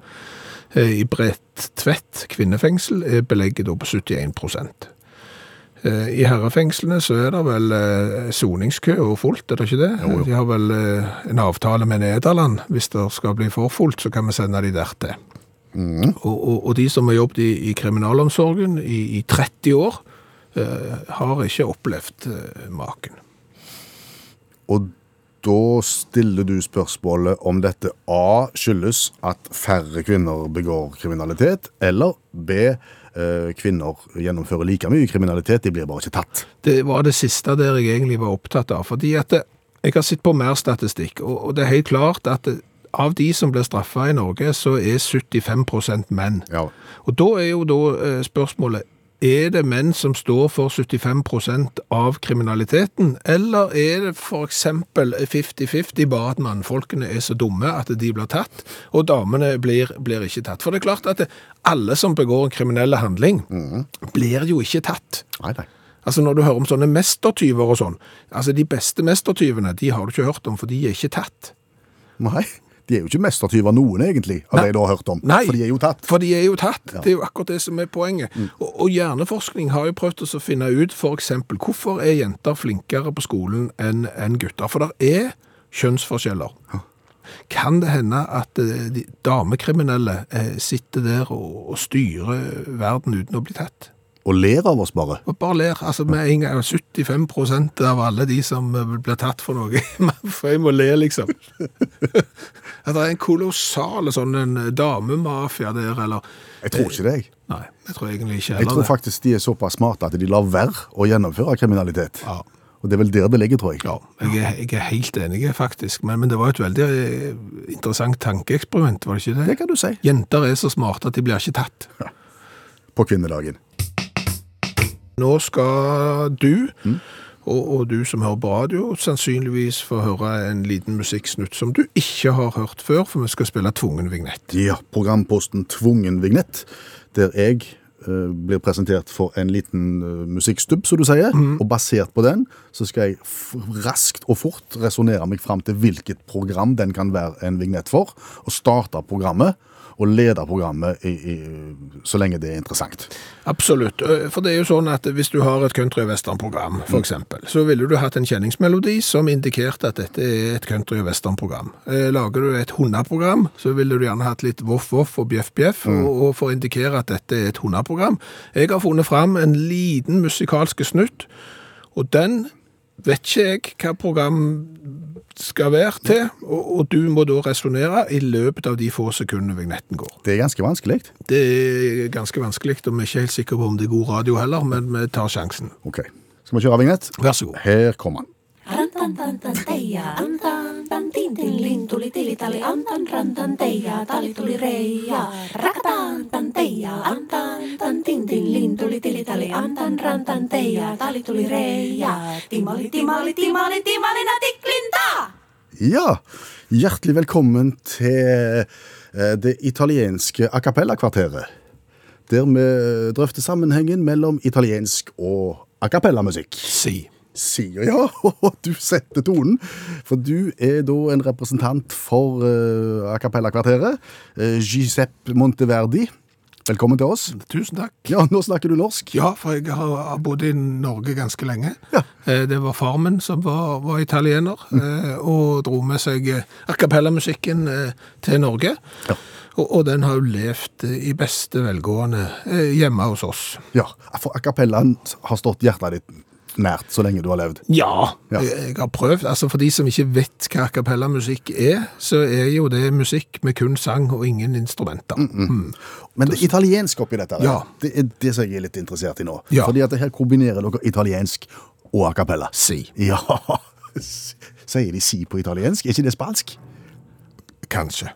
Speaker 2: Eh, I Bredtvet kvinnefengsel er belegget da på 71 prosent. Eh, I herrefengslene så er det vel eh, soningskø og fullt, er det ikke det? De har vel eh, en avtale med Nederland. Hvis det skal bli for fullt, så kan vi sende de dertil. Og, og, og de som har jobbet i, i kriminalomsorgen i, i 30 år, eh, har ikke opplevd eh, maken.
Speaker 3: Og da stiller du spørsmålet om dette A skyldes at færre kvinner begår kriminalitet, eller B eh, kvinner gjennomfører like mye kriminalitet, de blir bare ikke tatt.
Speaker 2: Det var det siste der jeg egentlig var opptatt av. Fordi at det, jeg har sett på mer statistikk, og, og det er helt klart at det, av de som blir straffa i Norge, så er 75 menn.
Speaker 3: Ja.
Speaker 2: Og da er jo da eh, spørsmålet er det menn som står for 75 av kriminaliteten, eller er det f.eks. 50-50, bare at mannfolkene er så dumme at de blir tatt, og damene blir, blir ikke tatt? For det er klart at det, alle som begår en kriminell handling, blir jo ikke tatt.
Speaker 3: Nei, nei.
Speaker 2: Altså Når du hører om sånne mestertyver og sånn altså De beste mestertyvene de har du ikke hørt om, for de er ikke tatt.
Speaker 3: Nei, de er jo ikke mestertyver noen, egentlig, av
Speaker 2: Nei.
Speaker 3: det jeg da har hørt om.
Speaker 2: Nei.
Speaker 3: For de er jo tatt. Mm.
Speaker 2: For de er jo tatt. Det er jo akkurat det som er poenget. Og, og hjerneforskning har jo prøvd å finne ut f.eks. hvorfor er jenter flinkere på skolen enn enn gutter? For det er kjønnsforskjeller. Kan det hende at eh, de damekriminelle eh, sitter der og, og styrer verden uten å bli tatt?
Speaker 3: Og ler av oss bare.
Speaker 2: Og bare ler. Altså, med en gang 75 av alle de som eh, blir tatt for noe. For jeg må le, liksom. At det er en kolossal sånn en damemafia der, eller
Speaker 3: Jeg tror ikke det, jeg.
Speaker 2: Nei, Eh, jeg tror egentlig ikke
Speaker 3: Jeg
Speaker 2: heller
Speaker 3: tror
Speaker 2: det.
Speaker 3: faktisk de er såpass smarte at de lar være å gjennomføre kriminalitet.
Speaker 2: Ja.
Speaker 3: Og det er vel der det ligger, tror jeg.
Speaker 2: Ja, jeg er, jeg er helt enig, faktisk. Men, men det var et veldig eh, interessant tankeeksperiment, var det ikke
Speaker 3: Det
Speaker 2: det?
Speaker 3: kan du si.
Speaker 2: Jenter er så smarte at de blir ikke tatt.
Speaker 3: På kvinnedagen.
Speaker 2: Nå skal du, og, og du som hører på radio, sannsynligvis få høre en liten musikksnutt som du ikke har hørt før, for vi skal spille tvungen vignett.
Speaker 3: Ja, programposten Tvungen vignett, der jeg eh, blir presentert for en liten eh, musikkstubb, som du sier,
Speaker 2: Mhm.
Speaker 3: og basert på den så skal jeg f raskt og fort resonnere meg fram til hvilket program den kan være en vignett for, og starte programmet og lede programmet i, i, så lenge det er interessant.
Speaker 2: Absolutt, ø, for det er jo sånn at hvis du har et country-western-program, for eksempel, så ville du hatt en kjenningsmelodi som indikerte at dette er et country-western-program. Eh, Lager du et hundeprogram, så ville du gjerne hatt litt voff-voff og bjeff-bjeff, og, og for å indikere at dette er et hundeprogram. Jeg har funnet fram en liten musikalske snutt, Og den vet ikke jeg hva program skal være til, og, og du må da resonnere i løpet av de få sekundene vignetten går.
Speaker 3: Det er ganske vanskelig.
Speaker 2: Det er ganske vanskelig, og vi er ikke helt sikre på om det er god radio heller, men vi tar sjansen.
Speaker 3: Ok, skal vi kjøre vignett?
Speaker 2: Vær så god.
Speaker 3: Her kommer han.
Speaker 5: Rantantantanteja, antan, tantin, tin, lin, tuli, tili, tali, antan, rantanteja, tali, tuli, reija. Rakatan, tanteja, antan, tantin, tin, lin, tuli, tili, tali, antan, rantanteja, tali, tuli, reija. Timali, timali, timali, timali, natiklinta!
Speaker 3: Ja, hjertelig velkommen til eh, det italienske a cappella-kvarteret. Der vi drøfter sammenhengen mellom italiensk og a cappella-musikk.
Speaker 2: Si.
Speaker 3: Sier ja, og du setter tonen. For du er da en representant for eh, a cappella-kvarteret. eh, Giuseppe Monteverdi. Velkommen til oss.
Speaker 2: Tusen takk.
Speaker 3: Ja, nå snakker du norsk.
Speaker 2: Ja, for jeg har bodd i Norge ganske lenge. Eh, Det var far min som var, var italiener, eh, og dro med seg eh, a cappella-musikken eh, til Norge. Og, og den har jo levd eh, i beste velgående eh, hjemme hos oss.
Speaker 3: Ja, for a cappellaen har stått hjertet ditt nært så lenge du har levd.
Speaker 2: Ja,
Speaker 3: Ja.
Speaker 2: Jeg, jeg har prøvd. Altså For de som ikke vet hva a cappella-musikk er, så er jo det musikk med kun sang og ingen instrumenter. Mm.
Speaker 3: Men det italienske oppi dette, her,
Speaker 2: Ja.
Speaker 3: det er det som jeg er litt interessert i nå.
Speaker 2: Ja.
Speaker 3: Fordi at det her kombinerer dere italiensk og a cappella.
Speaker 2: Si.
Speaker 3: Ja, sier de si på italiensk? Er ikke det spansk?
Speaker 2: Kanskje.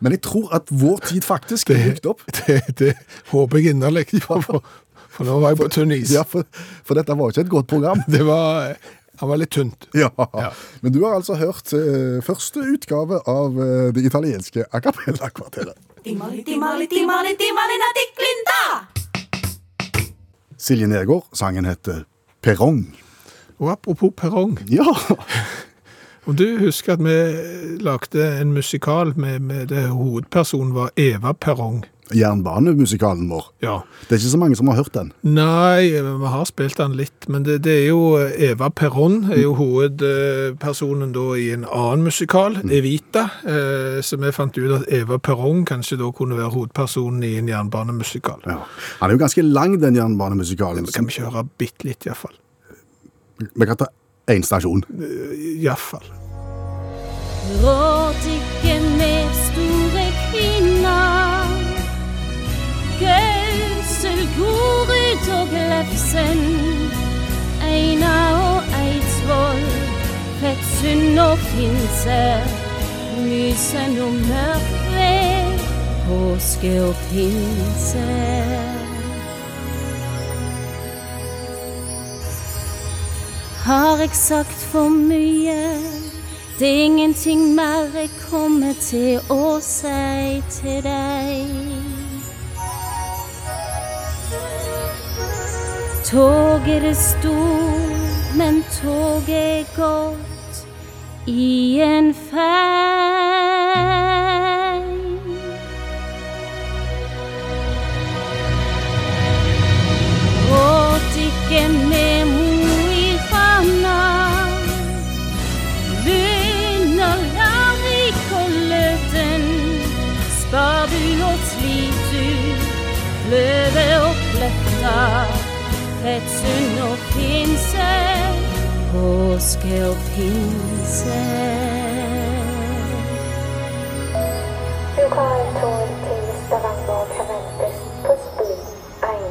Speaker 3: Men jeg tror at vår tid faktisk er brukt opp.
Speaker 2: Det, det håper jeg inderlig, for, for, for nå var jeg på tynn is.
Speaker 3: Ja, for, for dette var jo ikke et godt program.
Speaker 2: Det var eh, Han var litt tynt.
Speaker 3: Ja.
Speaker 2: Ja.
Speaker 3: Men du har altså hørt eh, første utgave av eh, det italienske a cappella-kvarteret.
Speaker 5: Timali, timali, timali, timali, natiklinta!
Speaker 3: Silje Nergård, sangen heter Perrong.
Speaker 2: Og apropos perrong.
Speaker 3: Ja,
Speaker 2: Om du husker at vi lagde en musikal med, med det hovedpersonen var Eva Perrong.
Speaker 3: jernbanemusikalen vår.
Speaker 2: Ja.
Speaker 3: Det er ikke så mange som har hørt den.
Speaker 2: Nei, vi har spilt den litt, men det, det er jo eh, Eva Perron er jo hovedpersonen da i en annen musikal, Evita, eh, så vi fant ut at Eva Perron kanskje da kunne være hovedpersonen i en jernbanemusikal.
Speaker 3: Ja. Han er jo ganske lang, den jernbanemusikalen.
Speaker 2: Vi kan kjøre bitte litt iallfall.
Speaker 3: Vi kan ta én stasjon.
Speaker 2: Iallfall.
Speaker 6: Gråt ikke mer, store kvinner. Gausel, Gorud og Glefsen. Einar og Eidsvoll. Fettsund og Finse. Mysen og Mørkved. Påske og pinse. Har jeg sagt for mye? Det er ingenting mer jeg kommer til å si til deg. Toget det sto, men toget er gått i en fei. Gråt ikke med mor i fana. Begynner aldri kolløten. Spar du nå slit ut løve og kløfta. Fettsund og pinse, påske og pinse.
Speaker 7: Du har tog til Stavanger og kan ventes på spor 1.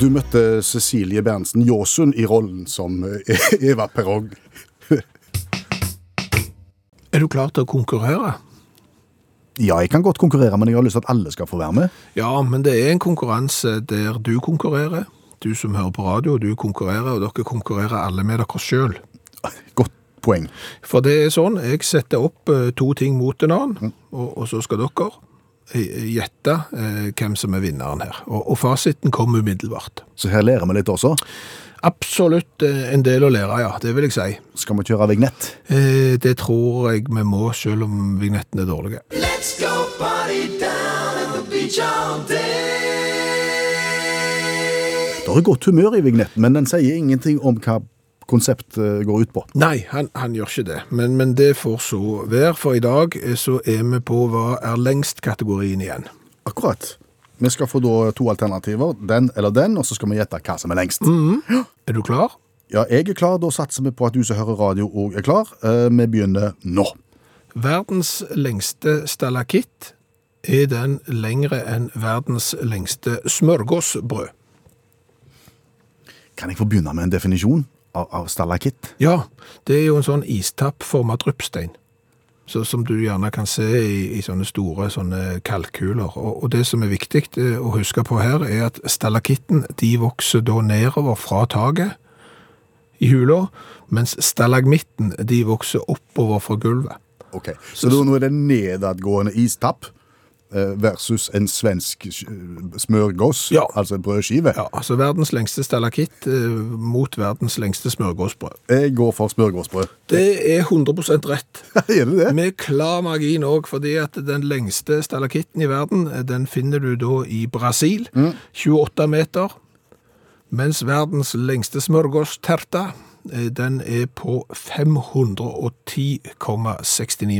Speaker 3: Du møtte Cecilie Berntsen Jåsund i rollen som eh, Eva Perrong.
Speaker 2: Er du klar til å konkurrere?
Speaker 3: Ja, jeg kan godt konkurrere, men jeg har lyst til at alle skal få være med.
Speaker 2: Ja, men det er en konkurranse der du konkurrerer. Du som hører på radio, du konkurrerer, og dere konkurrerer alle med dere sjøl.
Speaker 3: Godt poeng.
Speaker 2: For det er sånn, jeg setter opp eh, to ting mot en annen, og, og så skal dere eh, gjette eh, hvem som er vinneren her. Og, og fasiten kom umiddelbart.
Speaker 3: Så her lærer vi litt også.
Speaker 2: Absolutt eh, en del å lære, ja. Det vil jeg si.
Speaker 3: Skal vi kjøre vignett?
Speaker 2: Eh, Det tror jeg vi må, selv om vignettene er dårlige.
Speaker 3: Det er godt humør i vignetten, men den sier ingenting om hva konseptet går ut på.
Speaker 2: Nei, han, han gjør ikke det, men, men det får så være, for i dag eh, så er vi på hva er lengst-kategorien igjen.
Speaker 3: Akkurat. Vi skal få da to alternativer, den eller den, og så skal vi gjette hva som er lengst.
Speaker 2: Er du klar?
Speaker 3: Ja, jeg er klar. Da satser vi på at du som hører radio òg er klar. Eh, Vi begynner nå.
Speaker 2: Verdens lengste stalakitt er den lengre enn verdens lengste smørgåsbrød.
Speaker 3: Kan jeg få begynne med en definisjon av, av stalakitt?
Speaker 2: Ja, det er jo en sånn istappformet dryppstein. Så, som du gjerne kan se i, i sånne store sånne kalkkuler. Og, og det som er viktig eh, å huske på her, er at stalakitten de vokser da nedover fra taket i hula, mens stalagmitten de vokser oppover fra gulvet.
Speaker 3: Ok, Så da, nå er det nedadgående istapp eh, versus en svensk eh, smørgås,
Speaker 2: Ja.
Speaker 3: altså en brødskive.
Speaker 2: Ja, altså verdens lengste stalakitt eh, mot verdens lengste smørgåsbrød.
Speaker 3: Jeg går for smørgåsbrød.
Speaker 2: Det er 100 rett.
Speaker 3: er det det?
Speaker 2: Med klar margin òg, fordi at den lengste stalakitten i verden, den finner du da i Brasil. 28 meter. Mens verdens lengste smørgåsterta, eh, den er på 510,69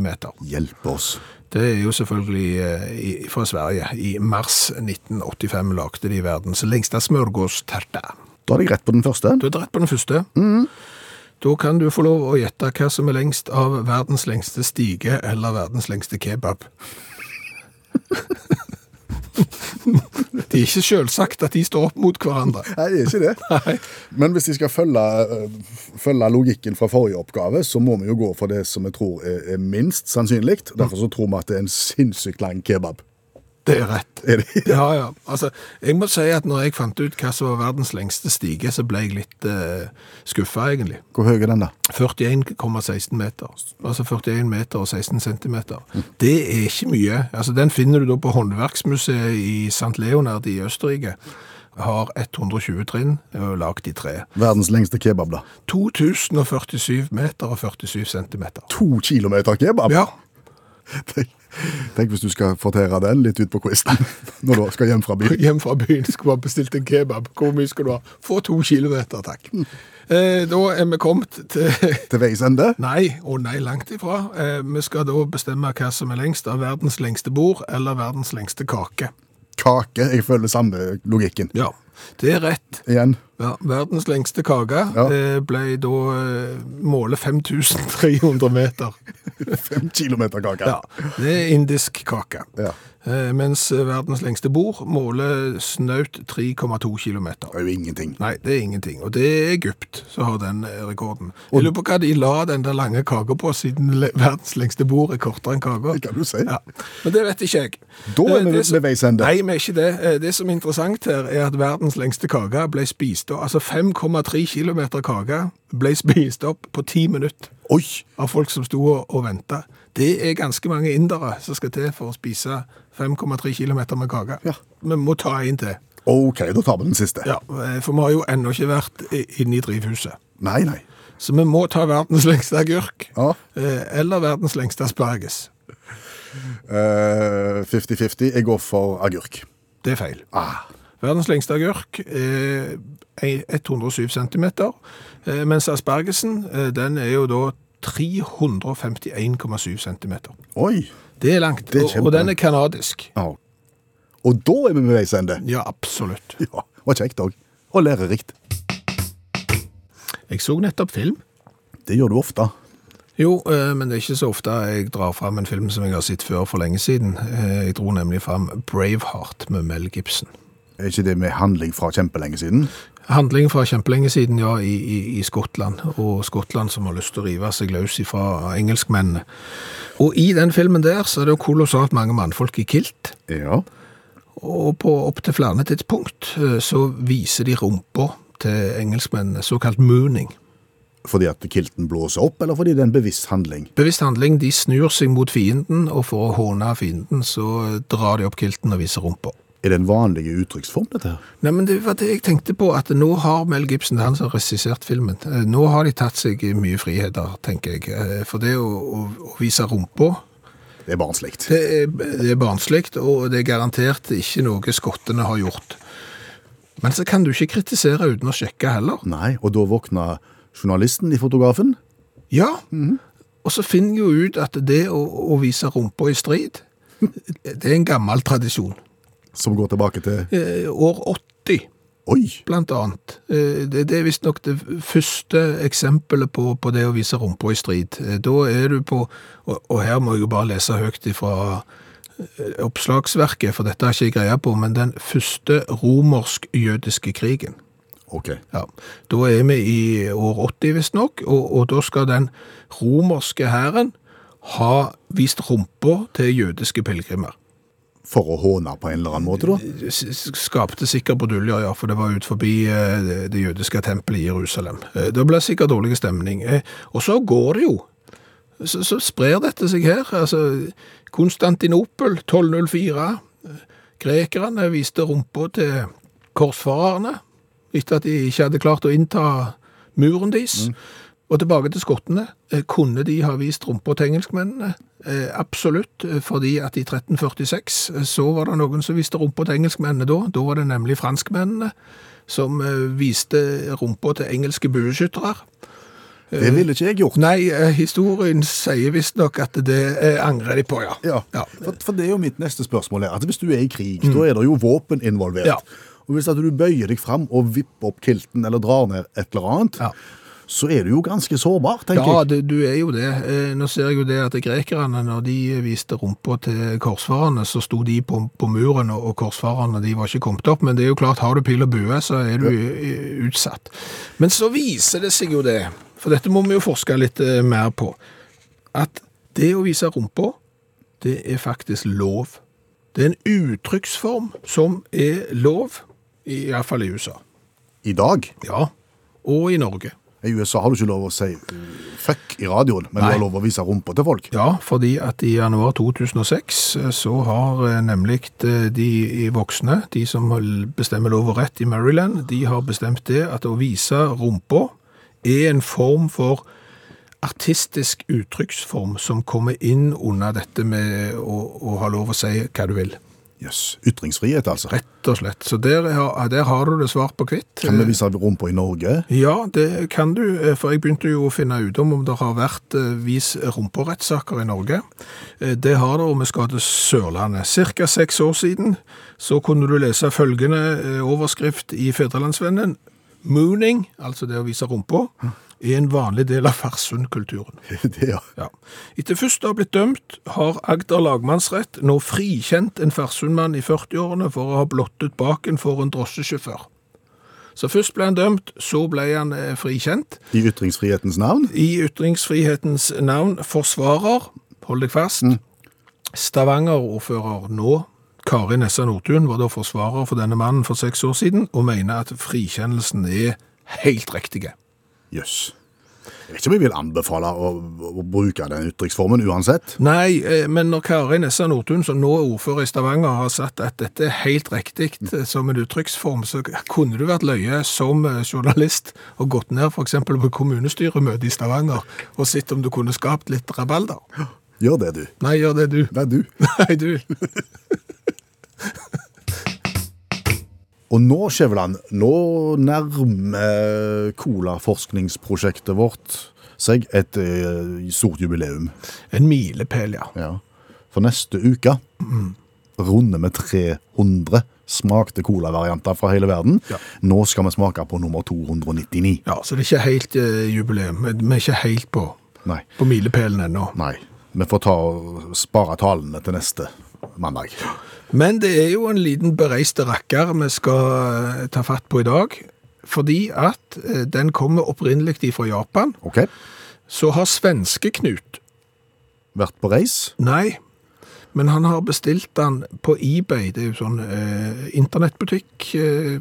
Speaker 2: meter.
Speaker 3: Hjelp oss.
Speaker 2: Det er jo selvfølgelig eh, i- fra Sverige. I mars 1985 lagde de verdens lengste smørgåsterta.
Speaker 3: Da hadde jeg rett på den første.
Speaker 2: Du er rett på den første. Da kan du få lov å gjette hva som er lengst av verdens lengste stige eller verdens lengste kebab. det er ikke selvsagt at de står opp mot hverandre.
Speaker 3: Nei, det er ikke det. Men hvis de skal følge, eh, f- følge logikken fra forrige oppgave, så må vi jo gå for det som vi tror er, er minst sannsynlig. Derfor så tror vi at det er en sinnssykt lang kebab.
Speaker 2: Det er rett.
Speaker 3: Er det?
Speaker 2: Ja, ja. Altså, jeg må si at når jeg fant ut hva som var verdens lengste stige, så ble jeg litt eh, skuffa, egentlig.
Speaker 3: Hvor høy er den, da?
Speaker 2: 41,16 meter. Altså 41 meter og 16 centimeter. Det er ikke mye. Altså Den finner du da på Håndverksmuseet i St. Leonard i Østerrike. Har 120 trinn og lagd i tre.
Speaker 3: Verdens lengste kebab, da.
Speaker 2: 2047 meter og 47 centimeter.
Speaker 3: To kilometer kebab!
Speaker 2: Ja,
Speaker 3: Tenk, tenk hvis du skal fortere den litt ut på quizen når du skal hjem fra byen.
Speaker 2: hjem fra byen skulle man bestilt en kebab. Hvor mye skal du ha? Få to kilometer, takk. Eh, da er vi kommet til
Speaker 3: Til veis ende.
Speaker 2: Nei, og nei langt ifra. Eh, vi skal da bestemme hva som er lengst av verdens lengste bord eller verdens lengste kake.
Speaker 3: Kake. Jeg følger samme logikken.
Speaker 2: Ja, det er rett.
Speaker 3: Igjen.
Speaker 2: Ja, verdens lengste kake
Speaker 3: Ja.
Speaker 2: eh, ble da eh, målet 5300 meter.
Speaker 3: Fem kilometer kake.
Speaker 2: Ja, det er indisk kake.
Speaker 3: Ja.
Speaker 2: Eh, mens verdens lengste bord måler snaut 3,2 kilometer.
Speaker 3: Det er jo ingenting.
Speaker 2: Nei, det er ingenting. Og det er Egypt som har den eh, rekorden. Jeg lurer på hva de la den der lange kaka på, siden le- verdens lengste bord er kortere enn kaka.
Speaker 3: Det kan du si.
Speaker 2: Ja. Men det vet ikke jeg.
Speaker 3: Da er
Speaker 2: Eh,
Speaker 3: vi
Speaker 2: det som-
Speaker 3: ved veis ende.
Speaker 2: Nei, vi er ikke det. Eh, Det som er interessant her, er at verdens lengste kake ble spist da. Altså 5,3 km kake ble spist opp på ti minutter
Speaker 3: Oi!
Speaker 2: av folk som sto og, og venta. Det er ganske mange indere som skal til for å spise 5,3 km med kake.
Speaker 3: Ja.
Speaker 2: Vi må ta en til.
Speaker 3: OK, da tar vi den siste.
Speaker 2: Ja, eh, for vi har jo ennå ikke vært i- inne i drivhuset.
Speaker 3: Nei, nei.
Speaker 2: Så vi må ta verdens lengste agurk.
Speaker 3: Ja.
Speaker 2: eh, Eller verdens lengste asperges.
Speaker 3: Eh, 50-50. Jeg går for agurk.
Speaker 2: Det er feil.
Speaker 3: Ah.
Speaker 2: Verdens lengste agurk er 107 cm, eh, mens aspergesen eh, den er jo da 351,7 cm.
Speaker 3: Oi!
Speaker 2: Det er langt,
Speaker 3: Det er
Speaker 2: og, og den er kanadisk.
Speaker 3: Ja. Og da er vi ved veis ende.
Speaker 2: Ja, absolutt.
Speaker 3: Ja, var kjekt òg. Og lærerikt.
Speaker 2: Jeg så nettopp film.
Speaker 3: Det gjør du ofte.
Speaker 2: Jo, eh, men det er ikke så ofte jeg drar fram en film som jeg har sett før for lenge siden. Eh, Jeg dro nemlig fram Braveheart med Mel Gibson.
Speaker 3: Er ikke det med handling fra kjempelenge siden?
Speaker 2: Handling fra kjempelenge siden, ja, i, i, i Skottland. Og Skottland som har lyst til å rive seg løs fra engelskmennene. Og i den filmen der så er det jo kolossalt mange mannfolk i kilt.
Speaker 3: Ja.
Speaker 2: Og på opptil flere tidspunkt eh, så viser de rumpa til engelskmennene, såkalt mooning.
Speaker 3: Fordi at kilten blåser opp, eller fordi det er en bevisst handling?
Speaker 2: Bevisst handling, de snur seg mot fienden, og for å håne fienden så drar de opp kilten og viser rumpa.
Speaker 3: Er det en vanlig uttrykksform, dette her?
Speaker 2: Nei, men det var det jeg tenkte på, at nå har Mel Gibson, det er han som har regissert filmen, eh, nå har de tatt seg mye friheter, tenker jeg. Eh, For det å, å, å vise rumpa,
Speaker 3: Det er barnslig.
Speaker 2: det er, det er barnslikt, og det er garantert ikke noe skottene har gjort. Men så kan du ikke kritisere uten å sjekke heller.
Speaker 3: Nei, og da våkna journalisten i fotografen.
Speaker 2: Ja, og så finner jeg jo ut at det å, å vise rumpa i strid, det er en gammel tradisjon.
Speaker 3: Som går tilbake til
Speaker 2: Eh, År 80
Speaker 3: Oi!
Speaker 2: blant annet. Eh, Det, det er visstnok det første eksempelet på, på det å vise rumpa i strid. Eh, Da er du på Og, og her må jeg jo bare lese høyt ifra eh, oppslagsverket, for dette har ikke jeg greie på, men den første romersk-jødiske krigen.
Speaker 3: OK.
Speaker 2: Ja, Da er vi i år 80, visstnok, og, og da skal den romerske hæren ha vist rumpa til jødiske pilegrimer.
Speaker 3: For å håne på en eller annen måte, da.
Speaker 2: S- s- skapte sikkert bruduljer, ja, for det var ut forbi eh, det- det jødiske tempelet i Jerusalem. Eh, Det ble sikkert dårlig stemning. Eh, Og så går det jo. Så, så sprer dette seg her. Altså, Konstantinopel 1204. eh, Grekerne viste rumpa til korsfarerne etter at de ikke hadde klart å innta muren deres. Og tilbake til skottene. Eh, Kunne de ha vist rumpa til engelskmennene? Eh, absolutt, eh, fordi at i 1346 eh, så var det noen som viste rumpa til engelskmennene da. Da var det nemlig franskmennene som eh, viste rumpa til engelske bueskyttere.
Speaker 3: Det ville ikke jeg gjort.
Speaker 2: Nei, eh, historien sier visstnok at det eh, angrer de på, ja.
Speaker 3: Ja,
Speaker 2: Ja. Mm.
Speaker 3: For, for det er jo mitt neste spørsmål her. At hvis du er i krig, da er det jo våpen involvert.
Speaker 2: Ja.
Speaker 3: Og hvis at du bøyer deg fram og vipper opp kilten eller drar ned et eller annet,
Speaker 2: Ja.
Speaker 3: så er du jo ganske sårbar, tenker
Speaker 2: Ja,
Speaker 3: jeg.
Speaker 2: det, du er jo det. Eh, Nå ser jeg jo det at grekerne, når de viste rumpa til korsfarerne, så sto de på, på muren, og og korsfarerne de var ikke kommet opp. Men det er jo klart, har du pil og bue, så er du eh, utsatt. Men så viser det seg jo det, for dette må vi jo forske litt eh, mer på, at det å vise rumpa, det er faktisk lov. Det er en uttrykksform som er lov, i hvert fall i USA.
Speaker 3: I dag.
Speaker 2: Ja. Og i Norge.
Speaker 3: I USA har du ikke lov å si uh, fuck i radioen, men
Speaker 2: Nei.
Speaker 3: du har lov å vise rumpa til folk.
Speaker 2: Ja, fordi at i januar 2006 eh, så har eh, nemlig eh, de voksne, de som l- bestemmer lov og rett i Maryland, de har bestemt det at å vise rumpa er en form for artistisk uttrykksform som kommer inn under dette med å, å ha lov å si hva du vil.
Speaker 3: Jøss. Ytringsfrihet, altså.
Speaker 2: Rett og slett. Så der, har- der har du det svart på hvitt.
Speaker 3: Kan vi vise rumpa i Norge?
Speaker 2: Ja, det kan du, eh, for jeg begynte jo å finne ut om om det har vært eh, vis rumperettssaker i Norge. Eh, Det har det, og vi skal til Sørlandet. Cirka seks år siden så kunne du lese følgende eh, overskrift i Fedrelandsvennen. Mooning, altså det å vise rumpa, er en vanlig del av Farsund-kulturen.
Speaker 3: det, ja.
Speaker 2: Ja. Etter først å ha blitt dømt, har Agder lagmannsrett nå frikjent en Farsundmann i 40-årene for å ha blottet baken for en drosjesjåfør. Så først ble han dømt, så ble han eh, frikjent.
Speaker 3: I ytringsfrihetens navn?
Speaker 2: I ytringsfrihetens navn forsvarer, hold deg fast, Stavanger-ordfører nå, Kari Nessa Nordtun var da forsvarer for denne mannen for seks år siden, og mener at frikjennelsen er helt riktig.
Speaker 3: Jøss. Jeg vet ikke om jeg vil anbefale å, å bruke den uttrykksformen uansett.
Speaker 2: Nei, eh, men når Kari Nessa Nordtun, som nå er ordfører i Stavanger, har sagt at dette er helt riktig eh, som en uttrykksform, så kunne du vært løye som eh, journalist og gått ned f.eks. på kommunestyremøtet i Stavanger og sett om du kunne skapt litt rabalder.
Speaker 3: Gjør det, du.
Speaker 2: Nei, gjør det du.
Speaker 3: Det er du.
Speaker 2: Nei, du.
Speaker 3: Og nå, Skjæveland, nå nærmer colaforskningsprosjektet vårt seg et eh, stort jubileum.
Speaker 2: En milepæl, ja.
Speaker 3: Ja. For neste uke runder vi 300 smakte colavarianter fra hele verden.
Speaker 2: Ja.
Speaker 3: Nå skal vi smake på nummer 299.
Speaker 2: Ja, Så det er ikke helt eh, jubileum. Vi vi er ikke helt på,
Speaker 3: Nei.
Speaker 2: på milepælen ennå.
Speaker 3: Nei. Vi får ta og spare talene til neste mandag.
Speaker 2: Men det er jo en liten bereiste rakker vi skal eh, ta fatt på i dag. Fordi at eh, den kommer opprinnelig fra Japan.
Speaker 3: OK?
Speaker 2: Så har svenske Knut
Speaker 3: Vært på reis?
Speaker 2: Nei, men han har bestilt den på eBay. Det er jo sånn eh, internettbutikk, eh,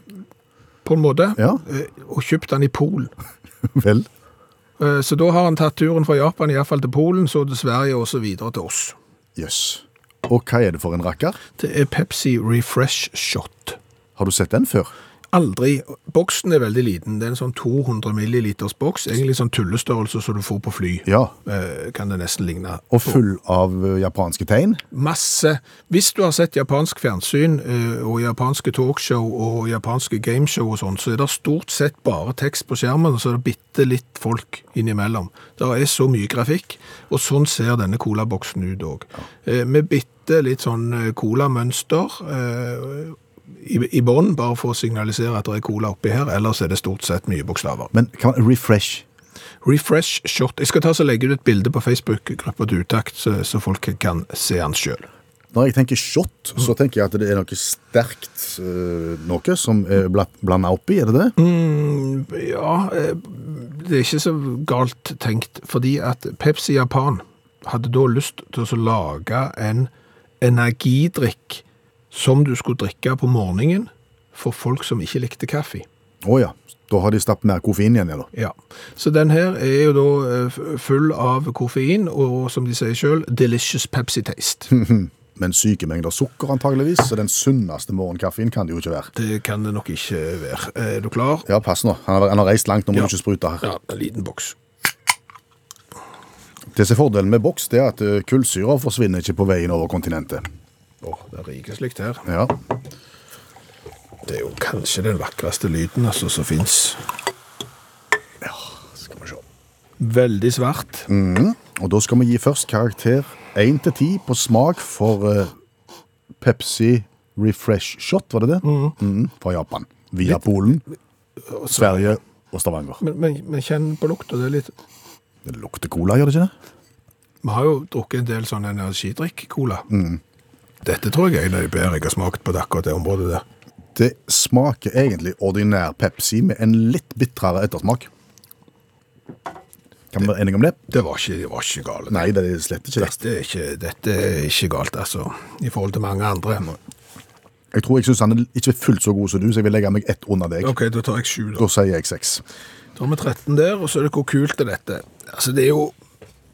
Speaker 2: på en måte.
Speaker 3: Ja.
Speaker 2: Eh, og kjøpt den i Polen.
Speaker 3: Vel.
Speaker 2: Eh, så da har han tatt turen fra Japan iallfall til Polen, så til Sverige og så videre til oss.
Speaker 3: Jøss. Og hva er det for en rakker?
Speaker 2: Det er Pepsi Refresh Shot.
Speaker 3: Har du sett den før?
Speaker 2: Aldri. Boksen er veldig liten. Det er en sånn 200 milliliters boks. Egentlig sånn tullestørrelse som du får på fly.
Speaker 3: Ja.
Speaker 2: Eh, Kan det nesten ligne.
Speaker 3: Og full av eh, japanske tegn?
Speaker 2: Masse. Hvis du har sett japansk fjernsyn eh, og japanske talkshow og japanske gameshow og sånn, så er det stort sett bare tekst på skjermen, og så er det bitte litt folk innimellom. Det er så mye grafikk, og sånn ser denne colaboksen ut òg. Med bitte litt sånn eh, colamønster eh, i, i bånn, bare for å signalisere at det er cola oppi her, ellers er det stort sett mye bokstaver.
Speaker 3: Men kan refresh
Speaker 2: Refresh shot. Jeg skal ta så legge ut et bilde på Facebook-gruppa til utakt, så, så folk kan se den sjøl.
Speaker 3: Når jeg tenker shot, så tenker jeg at det er noe sterkt eh, noe som er blanda oppi, er det det?
Speaker 2: Ja, eh, det er ikke så galt tenkt, fordi at Pepsi Japan hadde da lyst til å lage en energidrikk som du skulle drikke på morgenen for folk som ikke likte kaffe.
Speaker 3: Å ja. Da har de stappet mer koffein igjen, ja da.
Speaker 2: Ja, så den her er jo da eh, f- full av koffein, og som de sier selv, delicious Pepsi taste.
Speaker 3: Hm. Men syke mengder sukker antageligvis, så den sunneste morgenkaffen kan det jo ikke være.
Speaker 2: Det kan det nok ikke være. Er du klar?
Speaker 3: Ja, pass nå. Han har, han har reist langt, nå må
Speaker 2: Ja.
Speaker 3: du ikke sprute her.
Speaker 2: Ja, en liten boks.
Speaker 3: Det som er fordelen med boks, det er at eh, kullsyra forsvinner ikke på veien over kontinentet.
Speaker 2: Åh, det er rike slikt her.
Speaker 3: Ja.
Speaker 2: Det er jo kanskje den vakreste lyden altså, som finnes.
Speaker 3: Skal vi se.
Speaker 2: Veldig svart.
Speaker 3: Og da skal vi gi først karakter 1 til 10 på smak for eh, Pepsi Refresh Shot, var det det? Mhm, fra Japan. Via Polen, Sverige og Stavanger.
Speaker 2: Men, men, men kjenn på lukta. Det er litt
Speaker 3: Det lukter cola, gjør det ikke det?
Speaker 2: Vi har jo drukket en del sånn energidrikk-cola. Dette tror jeg er en av de bedre jeg har smakt på det akkurat det området der.
Speaker 3: Det smaker egentlig ordinær Pepsi med en litt bitrere ettersmak. Kan vi være enige om det?
Speaker 2: Det var ikke, det var ikke galt.
Speaker 3: Nei, det er slett ikke verst.
Speaker 2: Dette er ikke, dette er ikke galt, altså. I forhold til mange andre.
Speaker 3: Jeg tror jeg syns han er ikke fullt så god som du, så jeg vil legge meg ett under deg.
Speaker 2: OK, da tar jeg sju, da.
Speaker 3: Da sier jeg seks.
Speaker 2: Da har vi 13 der, og så er det hvor kult er dette. Altså, det er jo...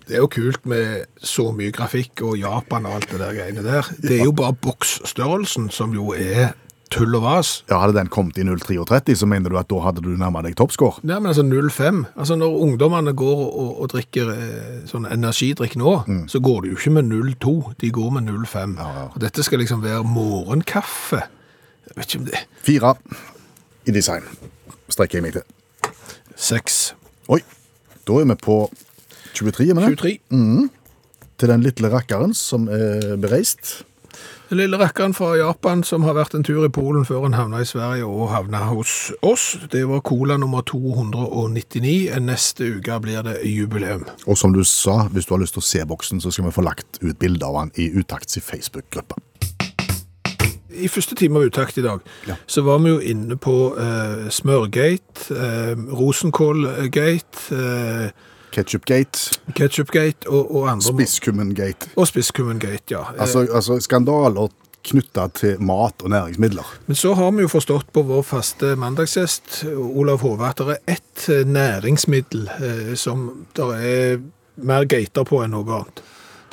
Speaker 2: Det er jo kult med så mye grafikk og Japan og alt det der greiene der. Det er jo bare boksstørrelsen som jo er tull og vas.
Speaker 3: Ja, Hadde den kommet i 0,33, så mener du at da hadde du nærma deg toppscore?
Speaker 2: Nei, men altså 05. Altså Når ungdommene går og, og drikker eh, sånn energidrikk nå, så går de jo ikke med 02, de går med 05. Og dette skal liksom være morgenkaffe. Jeg vet ikke om det
Speaker 3: Fire i design strekker jeg meg til.
Speaker 2: Seks.
Speaker 3: Oi, da er vi på 23 minutter
Speaker 2: 23.
Speaker 3: til den lille rakkeren som er bereist.
Speaker 2: Den lille rakkeren fra Japan som har vært en tur i Polen før han havna i Sverige og havna hos oss. Det var cola nummer 299. Neste uke blir det jubileum.
Speaker 3: Og som du sa, hvis du har lyst til å se boksen, så skal vi få lagt ut bilder av han i Utakts Facebook-gruppe.
Speaker 2: I første time av uttakt i dag, så var vi jo inne på eh, smørgate, eh, rosenkålgate, eh,
Speaker 3: Ketchupgate,
Speaker 2: ketchupgate og, og andre.
Speaker 3: Spisskummengate.
Speaker 2: Og spisskummengate, ja. Eh,
Speaker 3: Altså, altså skandaler knytta til mat og næringsmidler.
Speaker 2: Men så har vi jo forstått på vår faste mandagsgjest, Olav Hove, at det er ett eh, næringsmiddel eh, som det er mer gater på enn noe annet.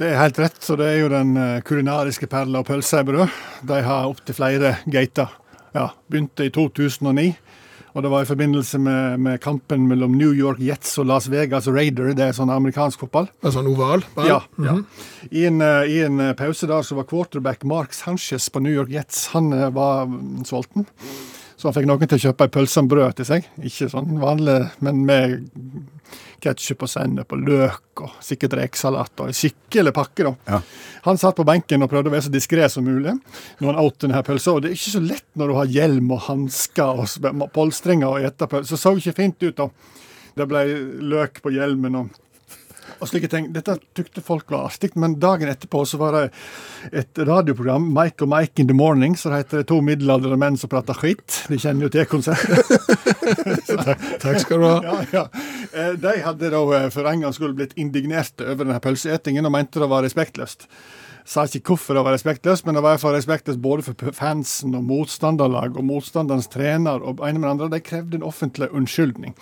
Speaker 1: Det er helt rett, så det er jo den eh, kulinariske perla og pølsa i brød. De har opptil flere gater. Ja, Begynte i 2009, og det var i forbindelse med, med kampen mellom New York Jets og Las Vegas Raider. Det er sånn amerikansk fotball.
Speaker 2: Altså en oval? Mhm. ball.
Speaker 1: Ja, ja. I, en, eh, I en eh, pause der så var quarterback Mark Sanchez på New York Jets. Han eh, var mm, sulten, så han fikk noen til å kjøpe ei pølse med brød til seg. Ikke sånn vanlig, men med ketsjup og sennep og løk og sikkert rekesalat og en skikkelig pakke. da.
Speaker 3: Ja.
Speaker 1: Han satt på benken og prøvde å være så diskré som mulig når han åt denne pølsa. Og det er ikke så lett når du har hjelm og hansker og sp- polstringer og ete pølse. Det så ikke fint ut, da. Det ble løk på hjelmen og og slike ting. Dette tykte folk var artig, men dagen etterpå så var det et radioprogram, Mike og Mike in the Morning, så det heter det to middelaldrende menn som prater skit. De kjenner jo til konsertet.
Speaker 2: Takk skal du ha.
Speaker 1: ja, ja. Eh, De hadde da eh, for en gangs skyld blitt indignerte over denne pølseetingen og mente det var respektløst. Sa ikke hvorfor det var respektløst, men det var iallfall respektløst både for p- fansen og motstanderlag og motstanderens trener og ene med det andre. De krevde en offentlig unnskyldning.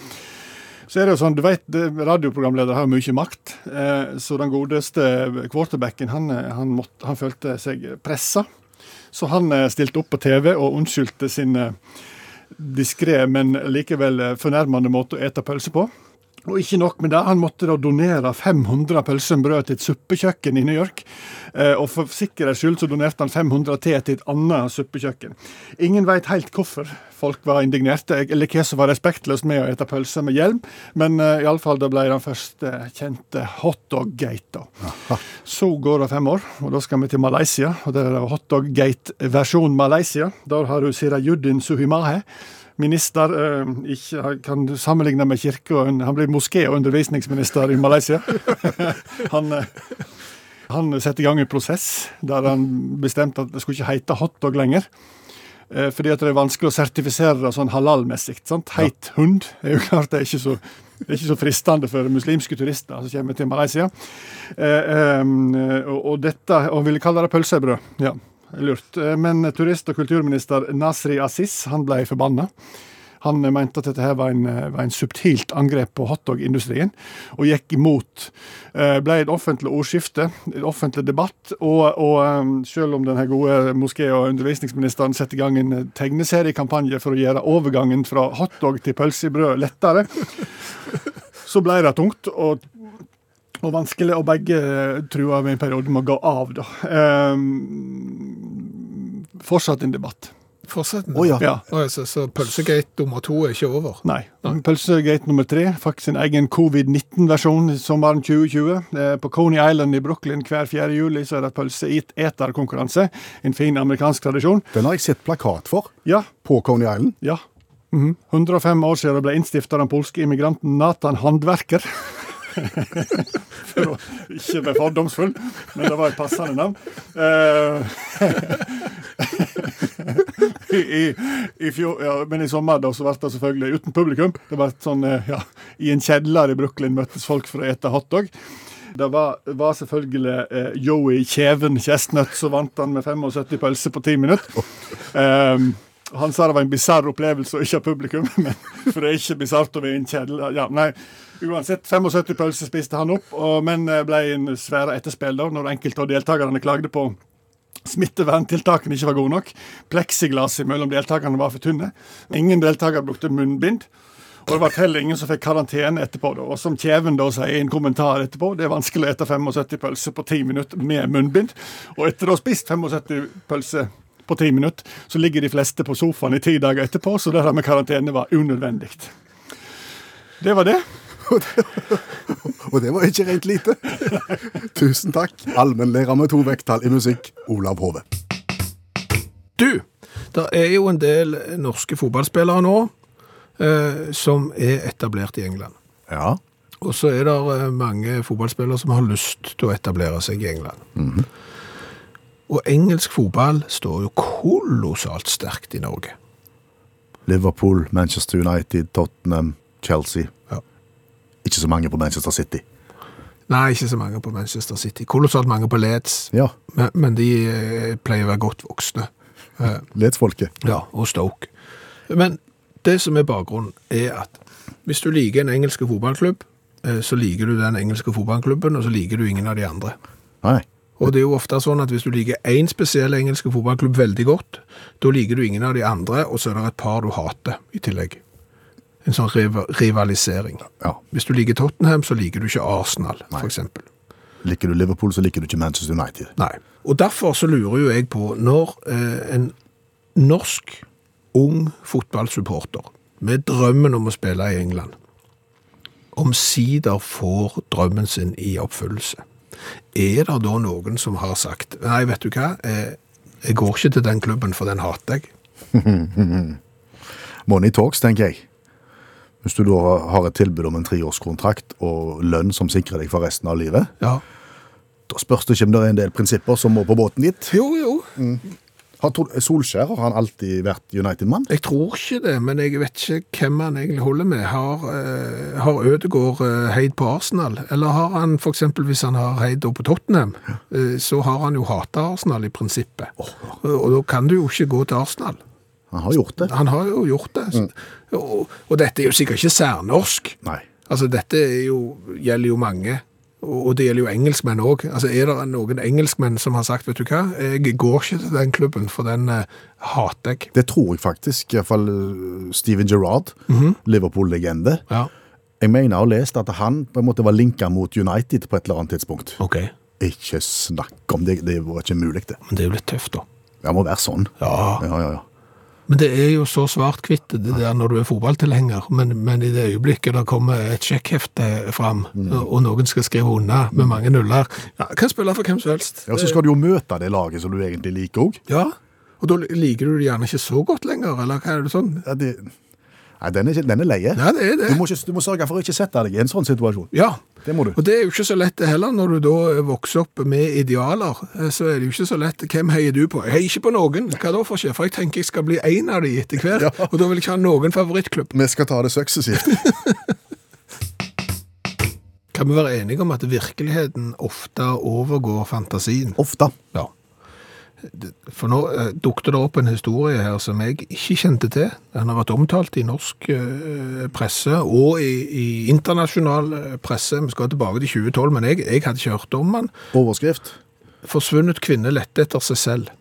Speaker 1: Så er det jo sånn, du vet, det- Radioprogramleder har jo mye makt, eh, så den godeste quarterbacken han, eh, han, måtte, han følte seg pressa. Så han eh, stilte opp på TV og unnskyldte sin eh, diskré, men likevel eh, fornærmende måte å ete pølse på. Og ikke nok med det, han måtte da donere 500 pølser med brød til et suppekjøkken i New York. Eh, og for sikkerhets skyld så donerte han 500 til til et annet suppekjøkken. Ingen veit helt hvorfor folk var indignerte, eller hva som var respektløst med å ete pølser med hjelm, men eh, iallfall det ble den første kjente hotdog-gata. Så går det fem år, og da skal vi til Malaysia. og Der er det hotdog-gate-versjon Malaysia. Der har du Sirajuddin Suhimahe. Minister eh, ikke, han kan du sammenligne med kirke og un- Han blir moské- og undervisningsminister i Malaysia. han, eh, han setter i gang en prosess der han bestemte at det skulle ikke hete hotdog lenger. Eh, fordi at det er vanskelig å sertifisere det sånn halalmessig. sant? Heit hund er jo klart det er ikke så, det er ikke så fristende for muslimske turister som kommer til Malaysia. Eh, eh, og, og dette, og ville kalle det pølsebrød. Ja, lurt. Eh, Men turist- og kulturminister Nasri Aziz han ble forbanna. Han eh, mente at dette her var en, eh, var en subtilt angrep på hotdog-industrien, og gikk imot. Eh, ble et offentlig ordskifte, en offentlig debatt, og, og eh, selv om denne gode moské- og undervisningsministeren setter i gang en eh, tegneseriekampanje for å gjøre overgangen fra hotdog til pølse i brød lettere, så ble det tungt. og og vanskelig, og begge eh, trua med en periode med å gå av, da. Ehm, fortsatt en debatt.
Speaker 2: Fortsett.
Speaker 3: Å ja.
Speaker 1: Ja.
Speaker 2: Å, Så, så pølsegate nummer to er ikke over.
Speaker 1: Nei. Pølsegate nummer tre fikk sin egen covid-19-versjon sommeren 2020. Eh, På Coney Island i Brooklyn hver 4. juli så er det pølseeterkonkurranse. En fin amerikansk tradisjon.
Speaker 3: Den har jeg sett plakat for
Speaker 1: Ja,
Speaker 3: på Coney Island.
Speaker 1: ja. Mhm. 105 år siden det ble innstifta den polske immigranten Nathan Handverker. For å ikke være fordomsfull, men det var et passende navn. Eh, i, i, i fjor, ja, men i sommer da, så ble det selvfølgelig uten publikum. Det ble sånn, eh, ja, I en kjeller i Brooklyn møttes folk for å ete hotdog. Det var, var selvfølgelig eh, Joey Kjeven Kjestnøtt som vant han med 75 pølser på 10 minutter. Ehm, han sa det var en bisarr opplevelse å ikke ha publikum, men for det er ikke bisart å være i en kjeller. Ja, nei, uansett, 75 pølser spiste han opp, og, men eh, ble en svære etterspill da, når enkelte av deltakerne klagde på smitteverntiltakene ikke var gode nok. Pleksiglasset mellom deltakerne var for tynne. Ingen deltakere brukte munnbind. Og det var heller ingen som fikk karantene etterpå. Da. Og som Kjeven da sier i en kommentar etterpå, det er vanskelig å ete 75 pølser på 10 minutter med munnbind. Og etter å ha spist 75 pølser på 10 minutter, så ligger de fleste på sofaen i ti dager etterpå, så det der med karantene var unødvendig. Det var det.
Speaker 3: Og det var ikke rent lite. Tusen takk, allmennlærer med to vekttall i musikk, Olav Hove.
Speaker 2: Du, det er jo en del norske fotballspillere nå eh, som er etablert i England.
Speaker 3: Ja.
Speaker 2: Og så er det eh, mange fotballspillere som har lyst til å etablere seg i England.
Speaker 3: Mhm.
Speaker 2: Og engelsk fotball står jo kolossalt sterkt i Norge.
Speaker 3: Liverpool, Manchester United, Tottenham, Chelsea.
Speaker 2: Ja.
Speaker 3: Ikke så mange på Manchester City.
Speaker 2: Nei, ikke så mange på Manchester City. Kolossalt mange på Leeds,
Speaker 3: Ja,
Speaker 2: men, men de eh, pleier å være godt voksne. Eh,
Speaker 3: Ledsfolket.
Speaker 2: Ja, og Stoke. Men det som er bakgrunnen, er at hvis du liker en engelsk fotballklubb, eh, så liker du den engelske fotballklubben, og så liker du ingen av de andre.
Speaker 3: Nei.
Speaker 2: Og det er jo ofte sånn at hvis du liker én spesiell engelsk fotballklubb veldig godt, da liker du ingen av de andre, og så er det et par du hater i tillegg. En sånn riva- rivalisering.
Speaker 3: Ja.
Speaker 2: Hvis du liker Tottenham, så liker du ikke Arsenal, for eksempel.
Speaker 3: Liker du Liverpool, så liker du ikke Manchester United.
Speaker 2: Nei. Og derfor så lurer jo jeg på, når eh, en norsk ung fotballsupporter med drømmen om å spille i England, omsider får drømmen sin i oppfyllelse, er det da noen som har sagt Nei, vet du hva, eh, jeg går ikke til den klubben, for den hater jeg.
Speaker 3: Money talks, tenker jeg. Hvis du da har et tilbud om en treårskontrakt og lønn som sikrer deg for resten av livet,
Speaker 2: Ja.
Speaker 3: da spørs det ikke om det er en del prinsipper som må på båten dit.
Speaker 2: Jo, jo.
Speaker 3: Har Tor- Solskjær har han alltid vært United-mann?
Speaker 2: Jeg tror ikke det, men jeg vet ikke hvem han egentlig holder med. Har, eh, har Ødegård eh, heid på Arsenal? Eller har han for eksempel, hvis han har heid da på Tottenham, eh, så har han jo hata Arsenal i prinsippet. Og, og da kan du jo ikke gå til Arsenal.
Speaker 3: Han har gjort det.
Speaker 2: Han har jo gjort det. Så- Og, og dette er jo sikkert ikke særnorsk.
Speaker 3: Nei.
Speaker 2: Altså, dette er jo, gjelder jo mange, og og det gjelder jo engelskmenn òg. Altså, er det noen engelskmenn som har sagt 'vet du hva, jeg går ikke til den klubben, for den eh, hater jeg'.
Speaker 3: Det tror jeg faktisk. Iallfall eh, Steven Gerrard, Liverpool-legende.
Speaker 2: Ja,
Speaker 3: Jeg mener jeg har lest at han på en måte var linka mot United på et eller annet tidspunkt.
Speaker 2: ok.
Speaker 3: Ikke snakk om det, det var ikke mulig, det.
Speaker 2: Men det er jo litt tøft, da.
Speaker 3: Det må være sånn.
Speaker 2: Ja.
Speaker 3: Ja, ja, ja.
Speaker 2: Men det er jo så svart-hvitt det der når du er fotballtilhenger, men, men i det øyeblikket det kommer et sjekkhefte fram,
Speaker 3: Mm.
Speaker 2: og, og noen skal skrive unna med mange nuller ja, Kan spille for hvem som helst.
Speaker 3: Ja, Så skal du jo møte det laget som du egentlig liker òg.
Speaker 2: Ja, og da liker du det gjerne ikke så godt lenger, eller hva er det sånn?
Speaker 3: Ja, det- Nei, den er, ikke- den er leie.
Speaker 2: Ja, det er
Speaker 3: Du
Speaker 2: det.
Speaker 3: må, ikke, du må sørge for å ikke sette deg i en sånn situasjon.
Speaker 2: Ja.
Speaker 3: Det må du.
Speaker 2: Og det er jo ikke så lett det heller, når du da vokser opp med idealer, eh, så er det jo ikke så lett. Hvem heier du på? Jeg heier ikke på noen. Hva da for sjef? For jeg tenker jeg skal bli en av de etter hvert,
Speaker 3: Ja.
Speaker 2: og da vil jeg ikke ha noen favorittklubb.
Speaker 3: Vi skal ta det suksessivt.
Speaker 2: Kan vi være enige om at virkeligheten ofte overgår fantasien?
Speaker 3: Ofte.
Speaker 2: Ja. For nå eh, dukte det opp en historie her som jeg ikke kjente til. Den har vært omtalt i norsk eh, presse og i, i internasjonal eh, presse. Vi skal tilbake til 2012, men jeg, jeg hadde ikke hørt om den.
Speaker 3: Overskrift.
Speaker 2: Forsvunnet kvinne lette etter seg selv.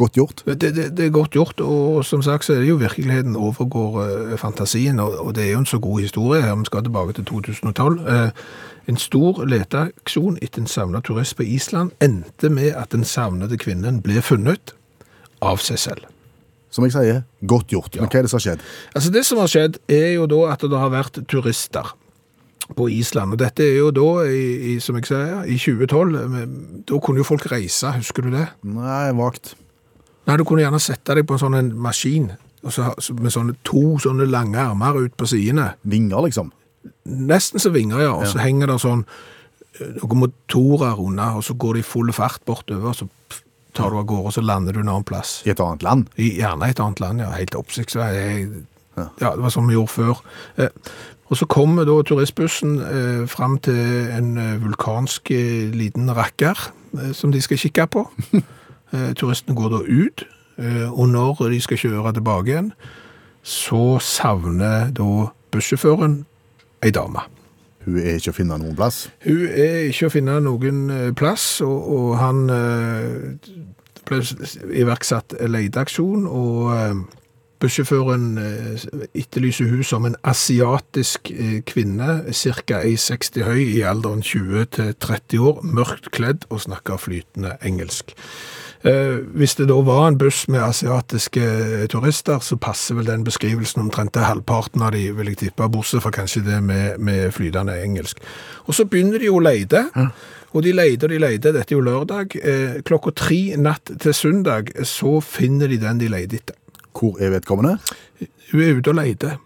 Speaker 3: Godt gjort.
Speaker 2: Det, det, det er godt gjort, og som sagt så er det jo virkeligheten overgår eh, fantasien, og, og det er jo en så god historie her, vi skal tilbake til 2012. Eh, en stor leteaksjon etter en savnet turist på Island endte med at den savnede kvinnen ble funnet av seg selv.
Speaker 3: Som jeg sier, godt gjort. Men hva er det som har skjedd?
Speaker 2: Altså Det som har skjedd, er jo da at det har vært turister på Island. Og dette er jo da, i, i, som jeg sier, i 2012. men Da kunne jo folk reise, husker du det?
Speaker 3: Nei, vagt.
Speaker 2: Nei, du kunne gjerne sette deg på en sånn en maskin og så, ha- så- med sånne, to sånne lange armer ut på sidene.
Speaker 3: Vinger, liksom.
Speaker 2: Nesten så vinger, ja. Og så henger det sånn eh, noen motorer unna, og så går de i full fart bortover, og så pff, tar du av gårde, og så lander du en annen plass.
Speaker 3: I et annet land.
Speaker 2: I gjerne et annet land, ja. Helt oppsiktsvekkende. Ja, det var som vi gjorde før. Eh, og så kommer da turistbussen eh, fram til en eh, vulkansk eh, liten rakker eh, som de skal kikke på. eh, turistene går da ut, eh, og når de skal kjøre tilbake igjen, så savner da bussjåføren ei dame.
Speaker 3: Hun er ikke å finne noen plass.
Speaker 2: Hun er ikke å finne noen eh, plass, og, og han eh, ble s- iverksatt leteaksjon, og eh, bussjåføren eh, etterlyser hun som en asiatisk eh, kvinne, ca. 1,60 høy, i alderen 20-30 år, mørkt kledd og snakker flytende engelsk. Eh, hvis det da var en buss med asiatiske eh, turister, så passer vel den beskrivelsen omtrent til halvparten av de, vil jeg tippe, bortsett fra kanskje det med, med flytende engelsk. Og så begynner de jo å leide, og de leide og de leide, dette er jo lørdag, eh, klokka tre natt til søndag, så finner de den de leide etter.
Speaker 3: Hvor er vedkommende?
Speaker 2: Hun er ute og leter.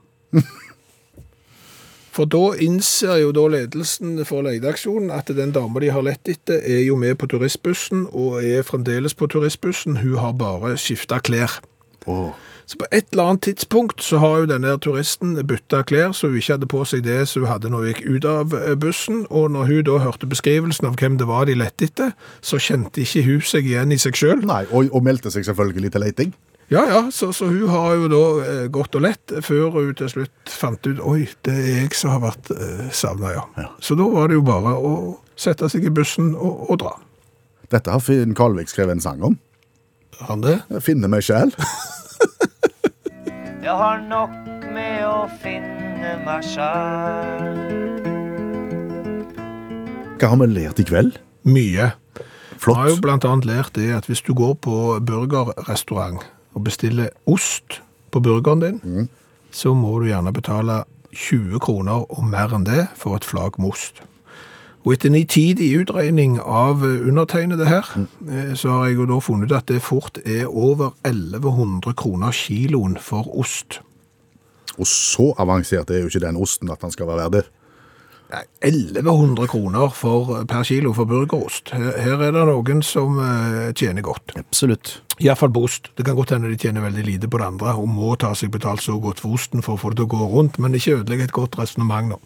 Speaker 2: For da innser jo da ledelsen for leteaksjonen at den dama de har lett etter, er jo med på turistbussen, og er fremdeles på turistbussen. Hun har bare skifta klær.
Speaker 3: Åh,
Speaker 2: Så på et eller annet tidspunkt så har jo denne her turisten bytta klær, så hun ikke hadde på seg det som hun hadde når hun gikk ut av eh, bussen. Og når hun da hørte beskrivelsen av hvem det var de lette etter, så kjente ikke hun seg igjen i seg sjøl.
Speaker 3: Nei, og, og meldte seg selvfølgelig til leiting.
Speaker 2: Ja, ja, så, så hun har jo da eh, gått og lett før hun til slutt fant ut Oi, det er jeg som har vært eh, savna, ja. Så da var det jo bare å sette seg i bussen og, og dra.
Speaker 3: Dette har Finn Kalvik skrevet en sang om.
Speaker 2: Han det?
Speaker 3: Finne meg sjæl.
Speaker 8: Jeg har nok med å finne meg sjæl.
Speaker 3: Hva har vi lært i kveld?
Speaker 2: Mye. Jeg har jo
Speaker 3: Flott.
Speaker 2: blant annet lært det at hvis du går på burgerrestaurant og bestiller ost på burgeren din, så må du gjerne betale 20 kroner og mer enn det for et flagg med ost. Og etter nitidig utregning av eh, undertegnede her, eh, så har jeg jo da funnet ut at det fort er over 1100 kroner kiloen for ost.
Speaker 3: Og så avansert er jo ikke den osten at han skal være verdig.
Speaker 2: Nei, 1100 kroner for, eh, per kilo for burgerost. Her, her er det noen som eh, tjener godt.
Speaker 3: Absolutt.
Speaker 2: I hvert fall på ost. Det kan godt hende de tjener veldig lite på det andre, og må ta seg betalt så godt for osten for å få det til å gå rundt, men ikke ødelegge et godt resonnement nå.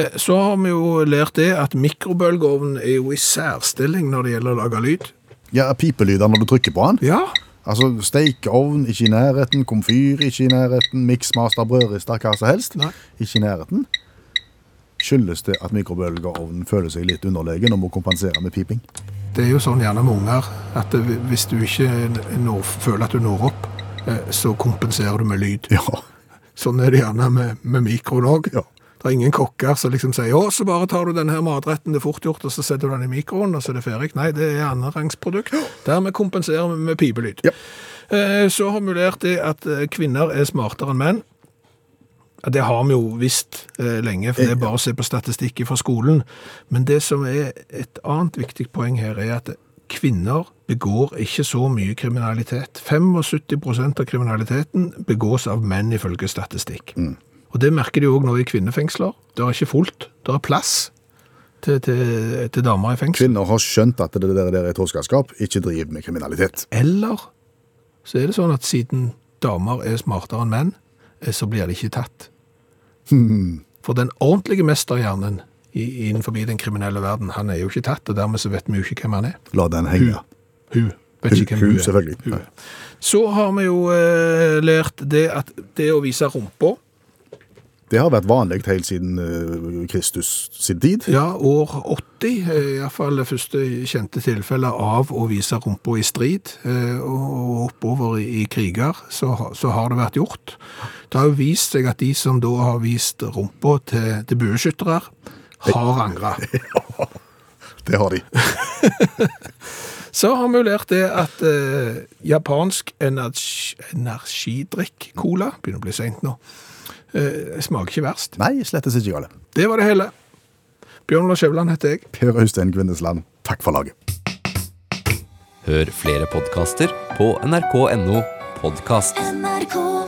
Speaker 2: Eh, Så har vi jo lært det at mikrobølgeovnen er jo i særstilling når det gjelder å lage lyd.
Speaker 3: Ja, pipelyder når du trykker på den.
Speaker 2: Ja,
Speaker 3: Altså, stekeovn ikke i nærheten, komfyr ikke i nærheten, miksmaster, brødrister, hva som helst.
Speaker 2: Nei.
Speaker 3: Ikke i nærheten. Skyldes det at mikrobølgeovnen føler seg litt underlegen og må kompensere med piping?
Speaker 2: det er jo sånn gjerne med unger at det- hvis du ikke når, føler at du når opp, eh, så kompenserer du med lyd.
Speaker 3: Ja.
Speaker 2: Sånn er det gjerne med, med mikroen òg.
Speaker 3: Ja.
Speaker 2: Det er ingen kokker som liksom sier å, så bare tar du denne her matretten det er fort gjort, og så setter du den i mikroen, og så er det ferdig. Nei, det er annenrangsprodukt. Dermed kompenserer vi med pipelyd.
Speaker 3: Ja.
Speaker 2: Eh, Så har vi lært det at eh, kvinner er smartere enn menn. Ja, Det har vi jo visst eh, lenge, for det er bare å se på statistikken fra skolen. Men det som er et annet viktig poeng her, er at kvinner begår ikke så mye kriminalitet. 75 av kriminaliteten begås av menn, ifølge statistikk. Og det merker de òg nå i kvinnefengsler. Det er ikke fullt, det er plass til, til, til damer i fengsel.
Speaker 3: Kvinner har skjønt at det der, der er troskapskap, ikke driver med kriminalitet.
Speaker 2: Eller så er det sånn at siden damer er smartere enn menn, eh, så blir de ikke tatt. For den ordentlige mesterhjernen i- innenfor den kriminelle verden, han er jo ikke tatt, og dermed så vet vi jo ikke hvem han er.
Speaker 3: La den henge.
Speaker 2: Hun vet
Speaker 3: Hun-
Speaker 2: ikke hvem
Speaker 3: hun,
Speaker 2: hun er.
Speaker 3: selvfølgelig.
Speaker 2: Hun er. Så har vi jo eh, lært det at det å vise rumpa,
Speaker 3: Det har vært vanlig helt siden eh, Kristus sin tid.
Speaker 2: ja, år 80, eh, i hvert fall det første kjente tilfellet av å vise rumpa i strid, eh, og og oppover i i kriger, så, ha- så har det vært gjort. Det har jo vist seg at de som da har vist rumpa til, til bueskyttere, har angret.
Speaker 3: Det har de.
Speaker 2: Så har vi jo lært det at eh, japansk energi, energidrikk-cola, begynner å bli sent nå, eh, smaker ikke verst.
Speaker 3: Nei, slettes ikke gale.
Speaker 2: Det var det hele. Bjørn Lars Skjævland heter jeg.
Speaker 3: Per Øystein Kvindesland, takk for laget.
Speaker 9: Hør flere podkaster på nrk.no podkast.
Speaker 5: NRK